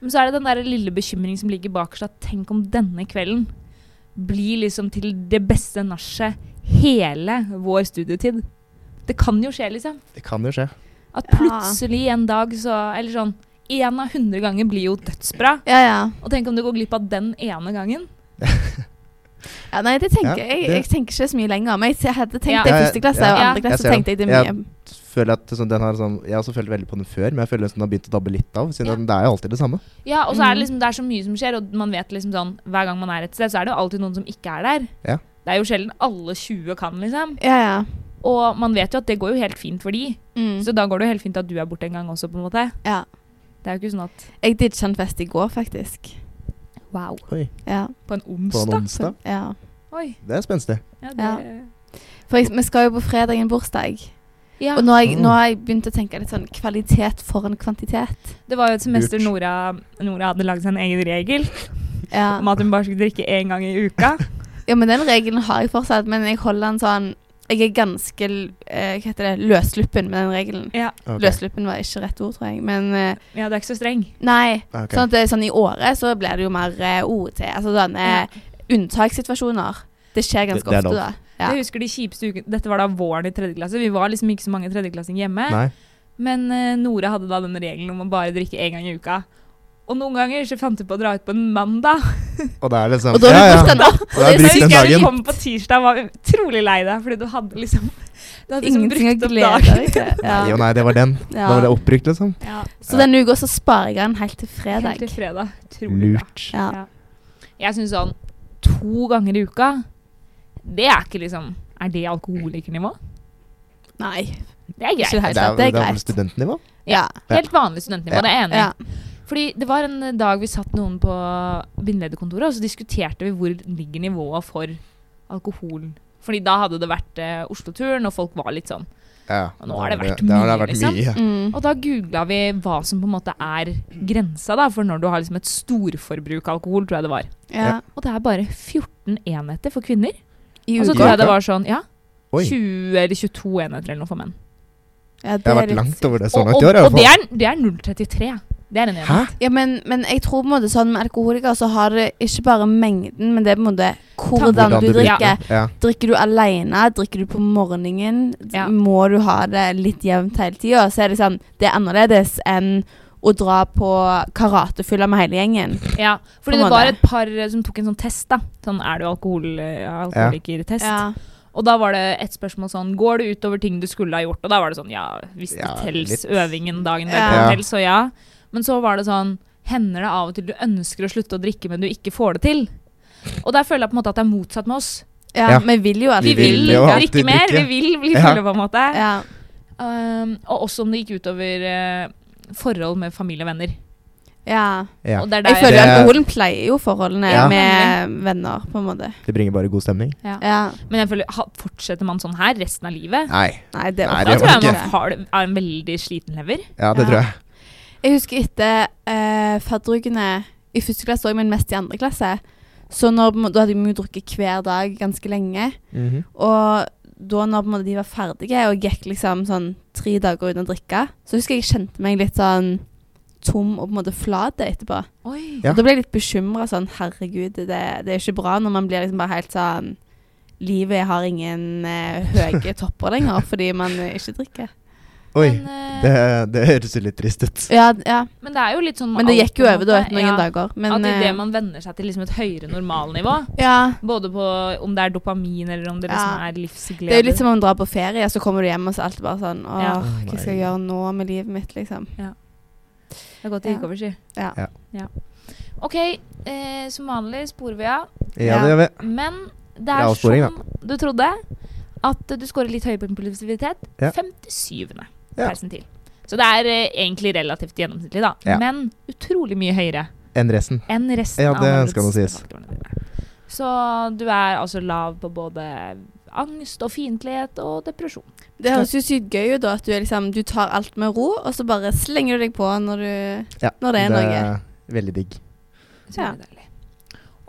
Speaker 1: Men så er det den der lille bekymring som ligger bakerst, at tenk om denne kvelden blir liksom til det beste nachet hele vår studietid. Det kan jo skje, liksom.
Speaker 3: Det kan jo skje.
Speaker 1: At
Speaker 2: Ja.
Speaker 1: plutselig en dag så Eller sånn Én av hundre ganger blir jo dødsbra.
Speaker 2: Ja, ja.
Speaker 1: Og tenk om du går glipp av den ene gangen.
Speaker 2: ja nei, det tenker
Speaker 3: Ja,
Speaker 2: jeg.
Speaker 3: det-
Speaker 2: Jeg tenker ikke så mye lenger. Men jeg hadde tenkt
Speaker 1: Ja.
Speaker 2: det
Speaker 3: Ja,
Speaker 2: i
Speaker 3: ja,
Speaker 2: første klasse,
Speaker 3: ja.
Speaker 2: og
Speaker 1: Ja.
Speaker 2: andre
Speaker 3: Jeg
Speaker 2: klasse
Speaker 3: ser den.
Speaker 2: tenkte jeg det
Speaker 3: Ja.
Speaker 2: mye.
Speaker 3: Føler at sånn, den har sånn, Jeg har også følt veldig på den før, men jeg føler at den har begynt å dabbe litt av. Siden
Speaker 1: Ja.
Speaker 3: den, det er jo alltid det samme.
Speaker 1: Ja, og så er det
Speaker 2: Mhm.
Speaker 1: liksom, det er så mye som skjer, og man vet liksom sånn Hver gang man er et sted, så er det jo alltid noen som ikke er der.
Speaker 3: Ja.
Speaker 1: Det er jo sjelden alle 20 kan, liksom.
Speaker 2: Ja, ja.
Speaker 1: Og man vet jo at det går jo helt fint for de.
Speaker 2: Mm.
Speaker 1: Så da går det jo helt fint at du er borte en gang også, på en måte.
Speaker 2: ja.
Speaker 1: Det er jo ikke sånn at
Speaker 2: Jeg ditcha en fest i går, faktisk.
Speaker 1: Wow.
Speaker 3: Oi,
Speaker 2: Ja.
Speaker 1: På en
Speaker 3: på en
Speaker 1: onsdag?
Speaker 3: onsdag.
Speaker 2: ja.
Speaker 1: Oi.
Speaker 3: Det er spenstig.
Speaker 1: Ja, det,
Speaker 2: Ja. For jeg, vi skal jo på fredag en bursdag.
Speaker 1: ja.
Speaker 2: Og nå har, jeg,
Speaker 3: Mm.
Speaker 2: nå har jeg begynt å tenke litt sånn kvalitet foran kvantitet.
Speaker 1: det var jo et semester
Speaker 3: Lurt.
Speaker 1: Nora, Nora hadde lagd seg en egen regel
Speaker 2: Ja.
Speaker 1: om at hun bare skulle drikke én gang i uka.
Speaker 2: ja, men den regelen har jeg fortsatt, men jeg holder den sånn Jeg er ganske eh, Hva heter det? Løssluppen med den regelen.
Speaker 1: Ja,
Speaker 3: Ok.
Speaker 2: Løssluppen var ikke rett ord, tror jeg. Men eh,
Speaker 1: ja det er ikke så streng.
Speaker 2: nei.
Speaker 3: Ah, Ok.
Speaker 2: Sånn at det er sånn i året så blir det jo mer eh, OT. Altså sånne
Speaker 1: Ja.
Speaker 2: unntakssituasjoner. Det skjer ganske
Speaker 3: Det-
Speaker 2: ofte,
Speaker 3: det er lov.
Speaker 2: da. Ja.
Speaker 1: Jeg husker de kjipeste ukene Dette var da våren i tredje klasse. Vi var liksom ikke så mange tredjeklassinger hjemme.
Speaker 3: Nei.
Speaker 1: Men eh, Nora hadde da den regelen om å bare drikke én gang i uka. Og noen ganger så fant hun på å dra ut på en mandag.
Speaker 3: Og det er liksom
Speaker 2: Og da har
Speaker 3: ja,
Speaker 2: vi
Speaker 3: ja.
Speaker 2: brukt den opp.
Speaker 3: Og da har jeg
Speaker 1: Så
Speaker 3: brukt den
Speaker 1: husker jeg du
Speaker 3: dagen.
Speaker 1: kom på tirsdag og var utrolig lei deg, fordi du hadde liksom Du hadde liksom
Speaker 2: Ingenting å
Speaker 1: brukt opp
Speaker 2: glede
Speaker 1: dagen.
Speaker 2: deg til.
Speaker 3: Nei,
Speaker 2: Ja.
Speaker 3: jo, nei, det var den. Da
Speaker 2: Ja.
Speaker 3: var det oppbrukt, liksom.
Speaker 1: Ja,
Speaker 2: Så denne uka så sparer jeg den helt til fredag.
Speaker 1: helt til fredag. Utrolig bra.
Speaker 3: Lurt.
Speaker 2: Ja.
Speaker 1: Ja. Jeg syns sånn to ganger i uka, det er ikke liksom Er det alkoholikernivå?
Speaker 2: Nei.
Speaker 1: Det er greit.
Speaker 2: Ikke helt
Speaker 3: Det er,
Speaker 2: sant. Det er
Speaker 3: det er vel
Speaker 2: greit.
Speaker 3: studentnivå.
Speaker 2: Ja.
Speaker 1: Helt vanlig studentnivå,
Speaker 3: Ja.
Speaker 1: det er jeg enig.
Speaker 2: ja.
Speaker 1: i. Fordi det var en dag vi satt noen på bindelederkontoret, og så diskuterte vi hvor ligger nivået for alkohol. Fordi da hadde det vært eh, Oslo-turen, og folk var litt sånn.
Speaker 3: Ja.
Speaker 1: Og nå har det vært
Speaker 3: Da har
Speaker 1: mye, liksom.
Speaker 3: mye.
Speaker 2: Mm.
Speaker 1: Og da googla vi hva som på en måte er grensa da, for når du har liksom et storforbruk av alkohol, tror jeg det var.
Speaker 2: ja.
Speaker 1: Og det er bare 14 enheter for kvinner.
Speaker 2: I
Speaker 1: Og så
Speaker 3: uka?
Speaker 1: tror jeg det var sånn, ja,
Speaker 3: Oi.
Speaker 1: 20 eller 22 enheter eller noe for menn.
Speaker 2: Ja,
Speaker 3: Det har
Speaker 2: er
Speaker 3: vært
Speaker 2: litt
Speaker 3: langt
Speaker 2: sykt.
Speaker 3: over det så
Speaker 1: Og,
Speaker 3: langt
Speaker 1: og,
Speaker 3: i Sånn år, i
Speaker 1: og
Speaker 3: hvert
Speaker 1: det,
Speaker 3: fall.
Speaker 1: er, det er 0,33. Det er en enhet.
Speaker 3: Hæ?
Speaker 2: Ja, men, men jeg tror på en måte sånn med alkoholikere så har det ikke bare mengden, men det er på en måte hvordan
Speaker 1: Hvordan
Speaker 2: du
Speaker 1: du
Speaker 2: drikker.
Speaker 3: Ja.
Speaker 2: Drikker du alene? Drikker du på morgenen? d-
Speaker 1: Ja.
Speaker 2: Må du ha det litt jevnt hele tida? Så er det sånn Det er annerledes enn å dra på karatefylla med hele gjengen.
Speaker 1: Ja, fordi det
Speaker 2: På
Speaker 1: var
Speaker 2: mandag.
Speaker 1: et par eh, som tok en sånn test, da. Sånn er du alkohol, eh, alkoholikertest. Og da var det et spørsmål sånn Går det utover ting du skulle ha gjort? Og da var det sånn Ja, hvis det
Speaker 3: Ja,
Speaker 1: tels
Speaker 3: litt.
Speaker 1: øvingen dagen der,
Speaker 2: Ja.
Speaker 1: tels, så ja. Men så var det sånn Hender det av og til du ønsker å slutte å drikke, men du ikke får det til? Og der føler jeg på en måte at det er motsatt med oss.
Speaker 2: Ja,
Speaker 3: Ja.
Speaker 2: vi vil jo
Speaker 1: Vi
Speaker 2: alltid
Speaker 1: vil
Speaker 3: jo alltid
Speaker 1: drikke mer, vi
Speaker 3: drikke.
Speaker 1: vil bli
Speaker 3: Ja.
Speaker 1: fulle, på en måte.
Speaker 2: Ja.
Speaker 1: Um, og også om det gikk utover eh, forhold med familie og venner.
Speaker 2: ja.
Speaker 3: Ja.
Speaker 1: Og det er
Speaker 2: Jeg
Speaker 1: der
Speaker 2: føler
Speaker 3: Det-
Speaker 2: alkoholen pleier jo forholdene
Speaker 3: Ja.
Speaker 2: med venner, på en måte.
Speaker 3: Det bringer bare god stemning.
Speaker 1: ja.
Speaker 2: Ja.
Speaker 1: Men jeg føler, ha, fortsetter man sånn her resten av livet,
Speaker 3: Nei.
Speaker 2: Nei, det
Speaker 3: Nei,
Speaker 1: da
Speaker 2: var
Speaker 3: det
Speaker 1: tror jeg
Speaker 3: orker
Speaker 1: man har, er en veldig sliten lever.
Speaker 3: Ja, det
Speaker 2: Ja.
Speaker 3: tror jeg.
Speaker 2: Jeg husker etter eh, fadderukene i første klasse òg, men mest i andre klasse. Så når, på en måte- da hadde vi jo drukket hver dag ganske lenge.
Speaker 3: Mhm.
Speaker 2: Og da når på en måte de var ferdige, og gikk liksom sånn tre dager uten å drikke, så husker jeg jeg kjente meg litt sånn tom og på en måte flat etterpå.
Speaker 1: Oi.
Speaker 3: Ja.
Speaker 2: Og da ble jeg litt bekymra sånn Herregud, det, det er ikke bra når man blir liksom bare helt sånn Livet har ingen eh, høye topper lenger fordi man eh, ikke drikker.
Speaker 3: Oi.
Speaker 1: Men, eh,
Speaker 3: Det, det høres jo litt trist ut.
Speaker 2: Ja, ja.
Speaker 1: men det er jo litt sånn
Speaker 2: Men det
Speaker 1: alt,
Speaker 2: gikk jo
Speaker 1: på en
Speaker 2: over da
Speaker 1: måte.
Speaker 2: etter noen
Speaker 1: Ja.
Speaker 2: dager. Men
Speaker 1: at
Speaker 2: eh,
Speaker 1: idet man venner seg til liksom et høyere normalnivå,
Speaker 2: ja.
Speaker 1: både på om det er dopamin eller om det liksom
Speaker 2: Ja.
Speaker 1: er livsglede
Speaker 2: Det er jo litt som om man drar på ferie, og så kommer du hjem, og så er alt bare sånn Åh,
Speaker 1: Ja.
Speaker 3: Oh
Speaker 2: hva skal jeg gjøre nå med livet mitt, liksom?
Speaker 1: Det er godt det gikk over, si.
Speaker 2: Ja.
Speaker 3: Ja.
Speaker 1: OK, eh, som vanlig sporer vi av.
Speaker 3: Ja, det gjør vi.
Speaker 1: Men det
Speaker 3: er
Speaker 1: er
Speaker 3: avsporing,
Speaker 1: som du trodde, at eh, du scorer litt høyere på impulsivitet.
Speaker 3: Ja.
Speaker 1: 57.
Speaker 3: Ja.
Speaker 1: persentil. Så det er eh, egentlig relativt gjennomsnittlig, da.
Speaker 3: Ja.
Speaker 1: Men utrolig mye høyere
Speaker 3: Enn resten.
Speaker 1: enn resten
Speaker 3: Ja,
Speaker 1: av
Speaker 3: det
Speaker 1: andre
Speaker 3: skal nå sies.
Speaker 1: faktorene dine. Så du er altså lav på både angst og fiendtlighet og depresjon.
Speaker 2: Det høres jo sykt gøy ut, da, at du, er liksom, du tar alt med ro, og så bare slenger du deg på når du
Speaker 3: Ja,
Speaker 2: Når det er
Speaker 3: er Veldig digg.
Speaker 1: Så
Speaker 2: Ja.
Speaker 1: er det deilig.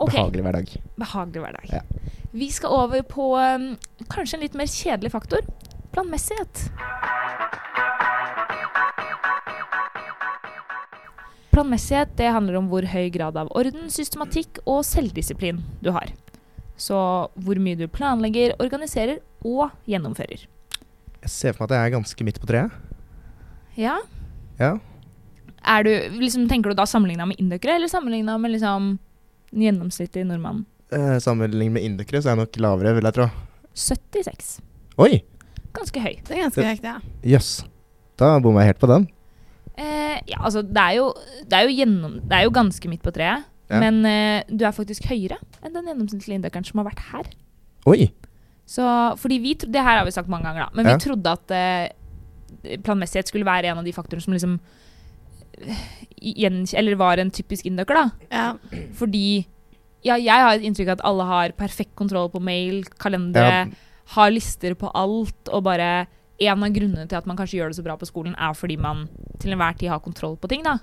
Speaker 1: Ok, behagelig.
Speaker 3: Behagelig hverdag.
Speaker 1: hverdag.
Speaker 3: Ja.
Speaker 1: Vi skal over på eh, kanskje en litt mer kjedelig faktor. Planmessighet. Planmessighet det handler om hvor høy grad av orden, systematikk og selvdisiplin du har. Så hvor mye du planlegger, organiserer og gjennomfører.
Speaker 3: Jeg ser for meg at jeg er ganske midt på treet.
Speaker 1: Ja?
Speaker 3: Ja.
Speaker 1: Er du, liksom, tenker du da sammenligna med indokere, eller sammenligna med liksom, den gjennomsnittlige nordmannen?
Speaker 3: Eh, Sammenlignet med indokere så er jeg nok lavere, vil jeg tro.
Speaker 1: 76.
Speaker 3: Oi!
Speaker 1: Ganske høy.
Speaker 2: Det er ganske
Speaker 3: Det-
Speaker 2: høyt, ja.
Speaker 3: Jøss. Da bomma jeg helt på den.
Speaker 1: Eh, ja, altså, det er, jo, det, er jo gjennom, det er jo ganske midt på treet,
Speaker 3: Ja.
Speaker 1: men eh, du er faktisk høyere enn den gjennomsnittlige indokeren som har vært her.
Speaker 3: Oi!
Speaker 1: Så, fordi vi, tro- det her har vi sagt mange ganger, da. Men
Speaker 3: Ja.
Speaker 1: vi trodde at eh, planmessighet skulle være en av de faktorene som liksom eh, gjenkj- Eller var en typisk indoker, da.
Speaker 2: ja.
Speaker 1: Fordi ja, jeg har et inntrykk av at alle har perfekt kontroll på mail, kalendere,
Speaker 3: Ja.
Speaker 1: har lister på alt, og bare En av grunnene til at man kanskje gjør det så bra på skolen, er fordi man til enhver tid har kontroll på ting, da.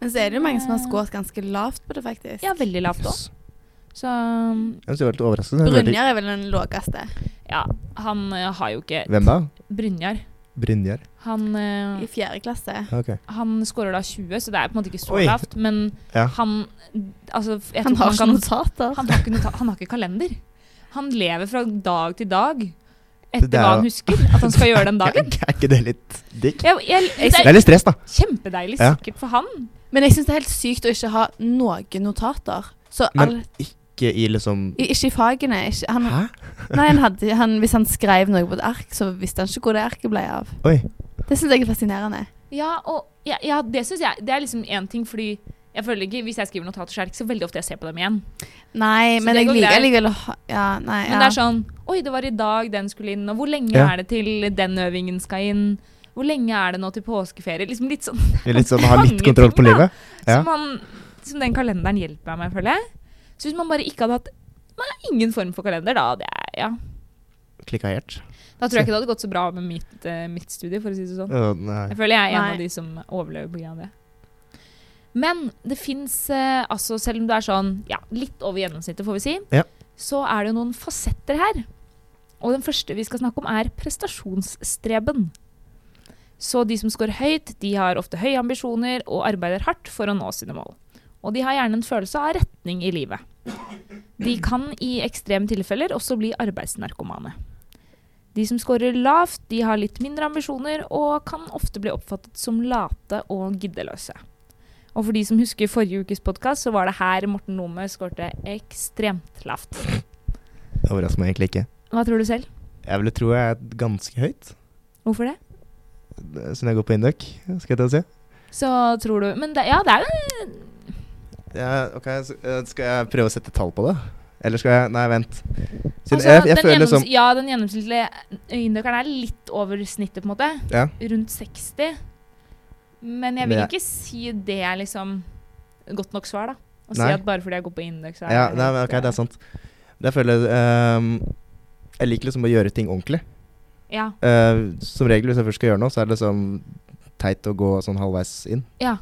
Speaker 2: Men så er det jo mange som har skåret ganske lavt på det, faktisk.
Speaker 1: Ja, veldig lavt òg.
Speaker 3: Jøss.
Speaker 1: Så
Speaker 3: Jeg synes det var litt overraskende. Veldig-
Speaker 2: Brynjar er vel den laveste
Speaker 1: ja, han eh, har jo ikke
Speaker 3: Hvem da?
Speaker 1: Brynjar.
Speaker 3: Brynjar.
Speaker 1: Han eh,
Speaker 2: i fjerde klasse.
Speaker 3: Ok.
Speaker 1: Han scorer da 20, så det er på en måte ikke så
Speaker 3: Oi.
Speaker 1: lavt. Men
Speaker 3: Ja.
Speaker 1: han altså, jeg
Speaker 2: Han
Speaker 1: tror
Speaker 2: har sånn
Speaker 1: man
Speaker 2: ikke
Speaker 1: kan-
Speaker 2: notater.
Speaker 1: han, har ikke nota- han har ikke kalender. Han lever fra dag til dag etter
Speaker 3: Det er
Speaker 1: hva
Speaker 3: jo-
Speaker 1: han husker at han skal gjøre den dagen.
Speaker 3: er ikke det litt digg?
Speaker 1: Jeg, jeg,
Speaker 3: Det
Speaker 1: det
Speaker 3: er
Speaker 1: er
Speaker 3: litt stress, da.
Speaker 1: kjempedeilig
Speaker 3: Ja.
Speaker 1: sikkert for han.
Speaker 2: Men jeg syns det er helt sykt å ikke ha noen notater. Så all,
Speaker 3: Men ikke i liksom
Speaker 2: i- Ikke i fagene. Ikke, han,
Speaker 3: Hæ?
Speaker 2: nei, han hadde, han, hvis han skrev noe på et ark, så visste han ikke hvor det arket ble av.
Speaker 3: Oi.
Speaker 2: Det syns jeg er fascinerende.
Speaker 1: Ja, og ja, ja, det synes jeg Det er liksom én ting, fordi jeg føler ikke, hvis jeg skriver notater, så er det ikke så veldig ofte jeg ser på dem igjen.
Speaker 2: Nei,
Speaker 1: Så
Speaker 2: men
Speaker 1: det
Speaker 2: jeg
Speaker 1: går
Speaker 2: liker
Speaker 1: greit.
Speaker 2: likevel å ha Ja, nei,
Speaker 1: Men
Speaker 2: ja.
Speaker 1: det er sånn Oi, det var i dag den skulle inn, og hvor lenge
Speaker 3: Ja.
Speaker 1: er det til den øvingen skal inn? Hvor lenge er det nå til påskeferie? Liksom litt sånn
Speaker 3: Litt sånn ha litt
Speaker 1: Mange
Speaker 3: kontroll på
Speaker 1: ting, da.
Speaker 3: livet. Ja.
Speaker 1: som, han, som den kalenderen hjelper meg med, føler jeg. Så hvis man bare ikke hadde hatt man har ingen form for kalender, da, det er, ja.
Speaker 3: Klikka helt.
Speaker 1: da tror jeg ikke det hadde gått så bra med mitt, eh, mitt studie, for å si det sånn.
Speaker 3: Å, nei.
Speaker 1: Jeg føler jeg er en
Speaker 2: Nei.
Speaker 1: av de som overlever pga. det. Men det fins eh, altså, selv om du er sånn ja, litt over gjennomsnittet, får vi si,
Speaker 3: Ja.
Speaker 1: så er det jo noen fasetter her. Og den første vi skal snakke om, er prestasjonsstreben. Så de som scorer høyt, de har ofte høye ambisjoner og arbeider hardt for å nå sine mål. Og de har gjerne en følelse av retning i livet. De kan i ekstreme tilfeller også bli arbeidsnarkomane. De som scorer lavt, de har litt mindre ambisjoner og kan ofte bli oppfattet som late og giddeløse. Og for de som husker forrige ukes podkast, så var det her Morten Nome skårte ekstremt lavt.
Speaker 3: Det overrasker meg egentlig ikke.
Speaker 1: Hva tror du selv?
Speaker 3: Jeg ville tro jeg er ganske høyt, eh,
Speaker 1: Hvorfor det?
Speaker 3: siden jeg går på Induc. Skal jeg ta og si.
Speaker 1: Så tror du Men det, ja, det er jo
Speaker 3: Ja, ok, så, eh, Skal jeg prøve å sette tall på det? Eller skal jeg Nei, vent.
Speaker 1: altså,
Speaker 3: Siden jeg, jeg
Speaker 1: den
Speaker 3: føler
Speaker 1: gjennoms-
Speaker 3: liksom
Speaker 1: Ja, den gjennomsnittlige øyendøkeren er litt over snittet, på en måte.
Speaker 3: Ja.
Speaker 1: Rundt 60. Men jeg vil
Speaker 3: Men jeg-
Speaker 1: ikke si det er liksom godt nok svar, da. Å si
Speaker 3: Nei.
Speaker 1: at bare fordi jeg går på Indøk, så er
Speaker 3: Ja,
Speaker 1: jeg
Speaker 3: nei,
Speaker 1: helt,
Speaker 3: men ok, det
Speaker 1: eh,
Speaker 3: er sant. Men Jeg føler ehm, Jeg liker liksom å gjøre ting ordentlig.
Speaker 1: Ja.
Speaker 3: Eh, som regel hvis jeg først skal gjøre noe, så er det liksom teit å gå sånn halvveis inn.
Speaker 1: Ja.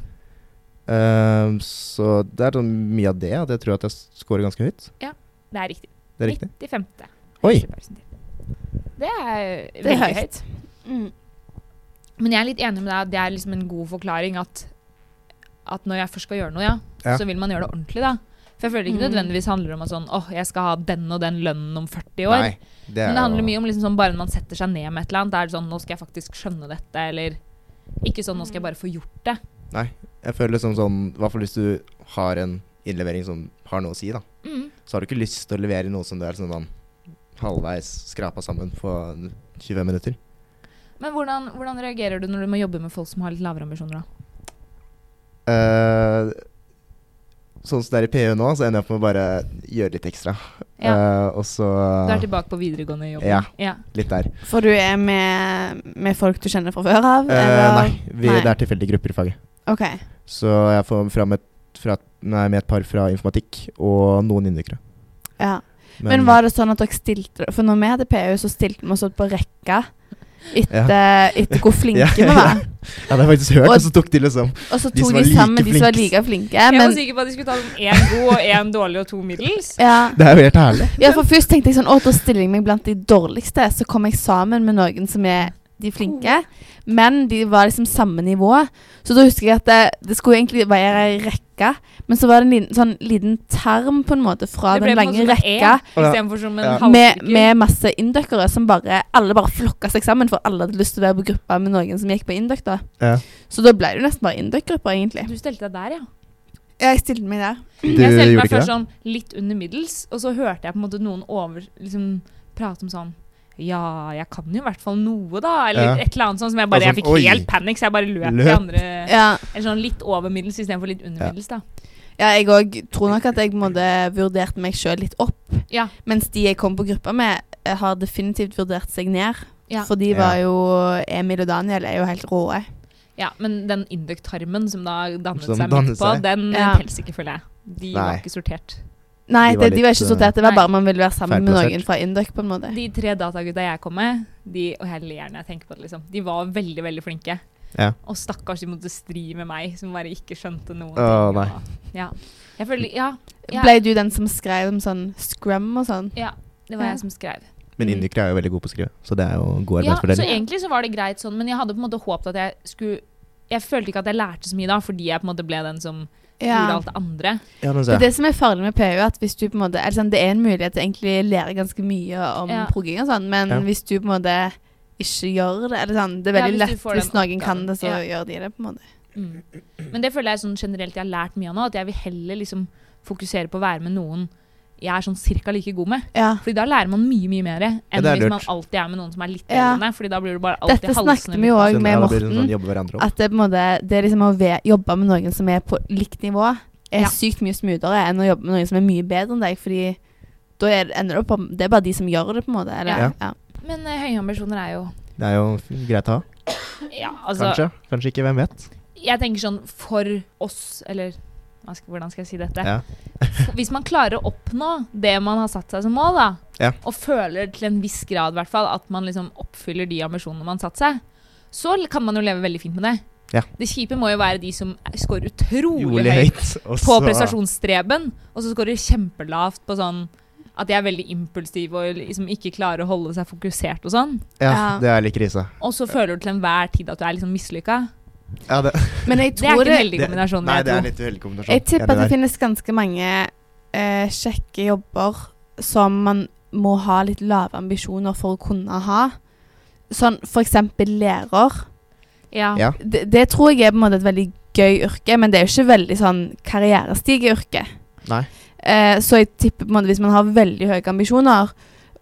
Speaker 3: Ehm, så det er sånn mye av det at jeg tror at jeg scorer ganske høyt.
Speaker 1: Det er riktig.
Speaker 3: Det er riktig.
Speaker 1: 95.
Speaker 3: Oi!
Speaker 1: 50%. Det er
Speaker 2: Det
Speaker 1: veldig
Speaker 2: er
Speaker 1: høyt.
Speaker 2: høyt. Mm.
Speaker 1: Men jeg er litt enig med deg at det er liksom en god forklaring at, at når jeg først skal gjøre noe, ja,
Speaker 3: Ja.
Speaker 1: så vil man gjøre det ordentlig, da. For jeg føler ikke
Speaker 2: Mm.
Speaker 1: nødvendigvis handler om at sånn, åh, jeg skal ha den og den lønnen om 40 år.
Speaker 3: Nei, det er
Speaker 1: Men det handler mye om liksom sånn, bare når man setter seg ned med et eller annet, da er det sånn, nå skal jeg faktisk skjønne dette, eller ikke sånn, nå skal jeg bare få gjort det.
Speaker 3: Jeg føler liksom sånn I hvert fall hvis du har en innlevering som har noe å si, da.
Speaker 1: Mm.
Speaker 3: Så har du ikke lyst til å levere noe som du er sånn sånn halvveis skrapa sammen på 25 minutter.
Speaker 1: Men hvordan, hvordan reagerer du når du må jobbe med folk som har litt lavere ambisjoner, da?
Speaker 3: Eh, sånn som det er i PU nå, så ender jeg opp med å bare gjøre litt ekstra.
Speaker 1: Ja.
Speaker 3: Eh, og så
Speaker 1: Du er tilbake på videregående jobb.
Speaker 3: Ja.
Speaker 1: ja.
Speaker 3: litt der.
Speaker 2: For du er med, med folk du kjenner fra før av?
Speaker 3: Eh,
Speaker 2: eller?
Speaker 3: nei, vi,
Speaker 2: Nei.
Speaker 3: det er tilfeldige grupper i faget.
Speaker 2: OK.
Speaker 3: Så jeg får fram et, fra, nei, med et par fra informatikk og noen innvikere.
Speaker 2: Ja. Men var det sånn at dere stilte For når vi hadde PU, så stilte vi oss opp på rekka etter, etter hvor flinke vi
Speaker 3: Ja,
Speaker 2: var.
Speaker 3: Ja, det har jeg faktisk hørt,
Speaker 2: Og-
Speaker 3: og, så tok de liksom
Speaker 2: Og så
Speaker 3: De som
Speaker 2: tok
Speaker 3: var
Speaker 2: de
Speaker 3: like
Speaker 2: sammen de som var
Speaker 3: flinke.
Speaker 2: like flinke.
Speaker 1: Jeg var
Speaker 2: Men,
Speaker 1: sikker på at de skulle ta sånn en god og en dårlig og to middels.
Speaker 2: ja,
Speaker 3: Det er jo helt herlig.
Speaker 2: ja, for først tenkte jeg sånn Å, da stiller jeg meg blant de dårligste. Så kom jeg sammen med noen som er de flinke. Men de var liksom samme nivå. Så da husker jeg at det, det skulle egentlig være ei rekke, men så var det en liten, sånn liten term på en måte fra
Speaker 1: Det ble på
Speaker 2: den
Speaker 1: en
Speaker 2: lange
Speaker 1: måte som en
Speaker 2: rekka.
Speaker 1: E, Istedenfor som en
Speaker 3: Ja.
Speaker 2: med,
Speaker 1: halvsirkel.
Speaker 2: med masse indøkere som bare Alle bare flokka seg sammen, for alle hadde lyst til å være på gruppa med noen som gikk på indøk. da
Speaker 3: Ja.
Speaker 2: Så da ble det jo nesten bare indøk-grupper, egentlig.
Speaker 1: Du stelte deg der, ja.
Speaker 2: Ja, jeg stilte meg der.
Speaker 3: Du
Speaker 1: jeg stelte
Speaker 3: gjorde
Speaker 1: meg
Speaker 3: ikke
Speaker 1: først
Speaker 3: det?
Speaker 1: sånn litt under middels, og så hørte jeg på en måte noen over, liksom, prate om sånn ja, jeg kan jo i hvert fall noe, da. Eller
Speaker 3: Ja.
Speaker 1: et eller annet sånt som jeg bare Jeg
Speaker 3: Altså,
Speaker 1: fikk
Speaker 3: oi.
Speaker 1: helt panikk, så jeg bare løp til
Speaker 3: Løp.
Speaker 1: andre
Speaker 2: Ja,
Speaker 1: Eller sånn litt over middels istedenfor litt under
Speaker 3: Ja.
Speaker 1: middels, da.
Speaker 2: ja jeg òg tror nok at jeg på en måte vurderte meg sjøl litt opp.
Speaker 1: Ja.
Speaker 2: Mens de jeg kom på gruppa med, eh, har definitivt vurdert seg ned.
Speaker 1: Ja.
Speaker 2: For de var jo Emil og Daniel er jo helt rå.
Speaker 1: Ja, men den inductarmen som da dannet
Speaker 3: Som
Speaker 1: seg
Speaker 3: dannet
Speaker 1: midt på,
Speaker 3: seg.
Speaker 1: den
Speaker 2: Ja.
Speaker 1: pels ikke, føler jeg. De
Speaker 3: Nei.
Speaker 1: var ikke sortert.
Speaker 2: Nei, de
Speaker 3: De
Speaker 2: var,
Speaker 3: var
Speaker 2: de var
Speaker 3: litt,
Speaker 2: ikke
Speaker 3: eh,
Speaker 2: sortert. Det var
Speaker 1: Nei.
Speaker 2: bare man ville være sammen med
Speaker 3: Feilplassert.
Speaker 2: noen fra indøk, på en måte.
Speaker 1: De tre datagutta jeg kom med, de, og jeg ler når jeg tenker på det, liksom. De var veldig, veldig flinke.
Speaker 3: Ja.
Speaker 1: Og stakkars, de måtte stri med meg, som bare ikke skjønte noen
Speaker 3: Å,
Speaker 1: ting.
Speaker 3: nei.
Speaker 1: og- Ja. Jeg føler, ja, Ja.
Speaker 2: Ble du den som skrev om sånn scrum og sånn?
Speaker 1: det var
Speaker 2: Ja.
Speaker 1: jeg som skrev.
Speaker 3: Men innvikere er jo veldig gode på å skrive, så det er jo god
Speaker 1: Ja, så
Speaker 3: arbeidsfordeling.
Speaker 1: egentlig så var det greit sånn, men jeg hadde på en måte håpet at jeg skulle Jeg følte ikke at jeg lærte så mye da, fordi jeg på en måte ble den som gjorde alt det andre.
Speaker 3: Ja, men
Speaker 2: Det
Speaker 3: så,
Speaker 2: er det som er farlig med PU, at hvis du på en måte, eller sånn, det er en mulighet til å egentlig lære ganske mye om
Speaker 1: Ja.
Speaker 2: progging og sånn, men
Speaker 3: Ja.
Speaker 2: hvis du på en måte ikke gjør det, eller sånn, det er
Speaker 1: Ja,
Speaker 2: veldig
Speaker 1: hvis du
Speaker 2: lett
Speaker 1: får
Speaker 2: hvis
Speaker 1: den
Speaker 2: noen kan det, så
Speaker 1: oppgaven,
Speaker 2: gjør de det på en måte.
Speaker 1: Mm. Men det føler jeg sånn generelt jeg har lært mye av nå, at jeg vil heller liksom fokusere på å være med noen jeg er sånn cirka like god med.
Speaker 2: Ja.
Speaker 1: Fordi da lærer man mye mye mer enn
Speaker 3: Ja, det er
Speaker 1: hvis man
Speaker 3: lurt.
Speaker 1: alltid er med noen som er litt
Speaker 2: Ja.
Speaker 1: eldre enn deg. Fordi da blir du bare alltid
Speaker 2: Dette snakket vi jo
Speaker 1: litt.
Speaker 2: òg
Speaker 3: Sånn,
Speaker 2: med
Speaker 3: ja, da blir det
Speaker 2: Morten,
Speaker 3: Sånn, jobbe hverandre opp.
Speaker 2: at det, på en måte, det liksom å ve- jobbe med noen som er på likt nivå, er
Speaker 1: Ja.
Speaker 2: sykt mye smoothere enn å jobbe med noen som er mye bedre enn deg, fordi da er, det- ender det opp på Det er bare de som gjør det, på en måte. Eller?
Speaker 3: Ja.
Speaker 2: Ja.
Speaker 1: Men eh, høye ambisjoner er jo
Speaker 3: Det er jo f- greit å ha.
Speaker 1: Ja, altså
Speaker 3: Kanskje. Kanskje ikke, hvem vet.
Speaker 1: Jeg tenker sånn for oss, eller hva skal, hvordan skal jeg si dette?
Speaker 3: Ja.
Speaker 1: Hvis man klarer å oppnå det man har satt seg som mål, da,
Speaker 3: Ja.
Speaker 1: og føler til en viss grad i hvert fall at man liksom oppfyller de ambisjonene man satt seg, så l- kan man jo leve veldig fint med det.
Speaker 3: Ja.
Speaker 1: Det kjipe må jo være de som scorer utrolig
Speaker 3: Rolig
Speaker 1: høyt
Speaker 3: høyt. og
Speaker 1: på
Speaker 3: så-
Speaker 1: prestasjonsstreben, og så scorer kjempelavt på sånn at de er veldig impulsive og liksom ikke klarer å holde seg fokusert og sånn.
Speaker 3: Ja,
Speaker 2: Ja.
Speaker 3: det er litt krise.
Speaker 1: Og så føler du til enhver tid at du er liksom mislykka.
Speaker 3: Ja, det,
Speaker 2: Men jeg
Speaker 1: Det er
Speaker 2: tror
Speaker 1: ikke
Speaker 2: det,
Speaker 1: en heldig kombinasjon.
Speaker 3: Nei,
Speaker 1: vil jeg
Speaker 3: det
Speaker 1: tro.
Speaker 3: er litt uheldig kombinasjon.
Speaker 2: Jeg tipper
Speaker 3: Enig
Speaker 2: at det
Speaker 3: der.
Speaker 2: finnes ganske mange eh, kjekke jobber som man må ha litt lave ambisjoner for å kunne ha. Sånn for eksempel lærer.
Speaker 1: ja.
Speaker 3: Ja.
Speaker 2: Det, det tror jeg er på en måte et veldig gøy yrke, men det er jo ikke veldig sånn karrierestigeyrke.
Speaker 3: Nei.
Speaker 2: Eh, så jeg tipper på en måte hvis man har veldig høye ambisjoner,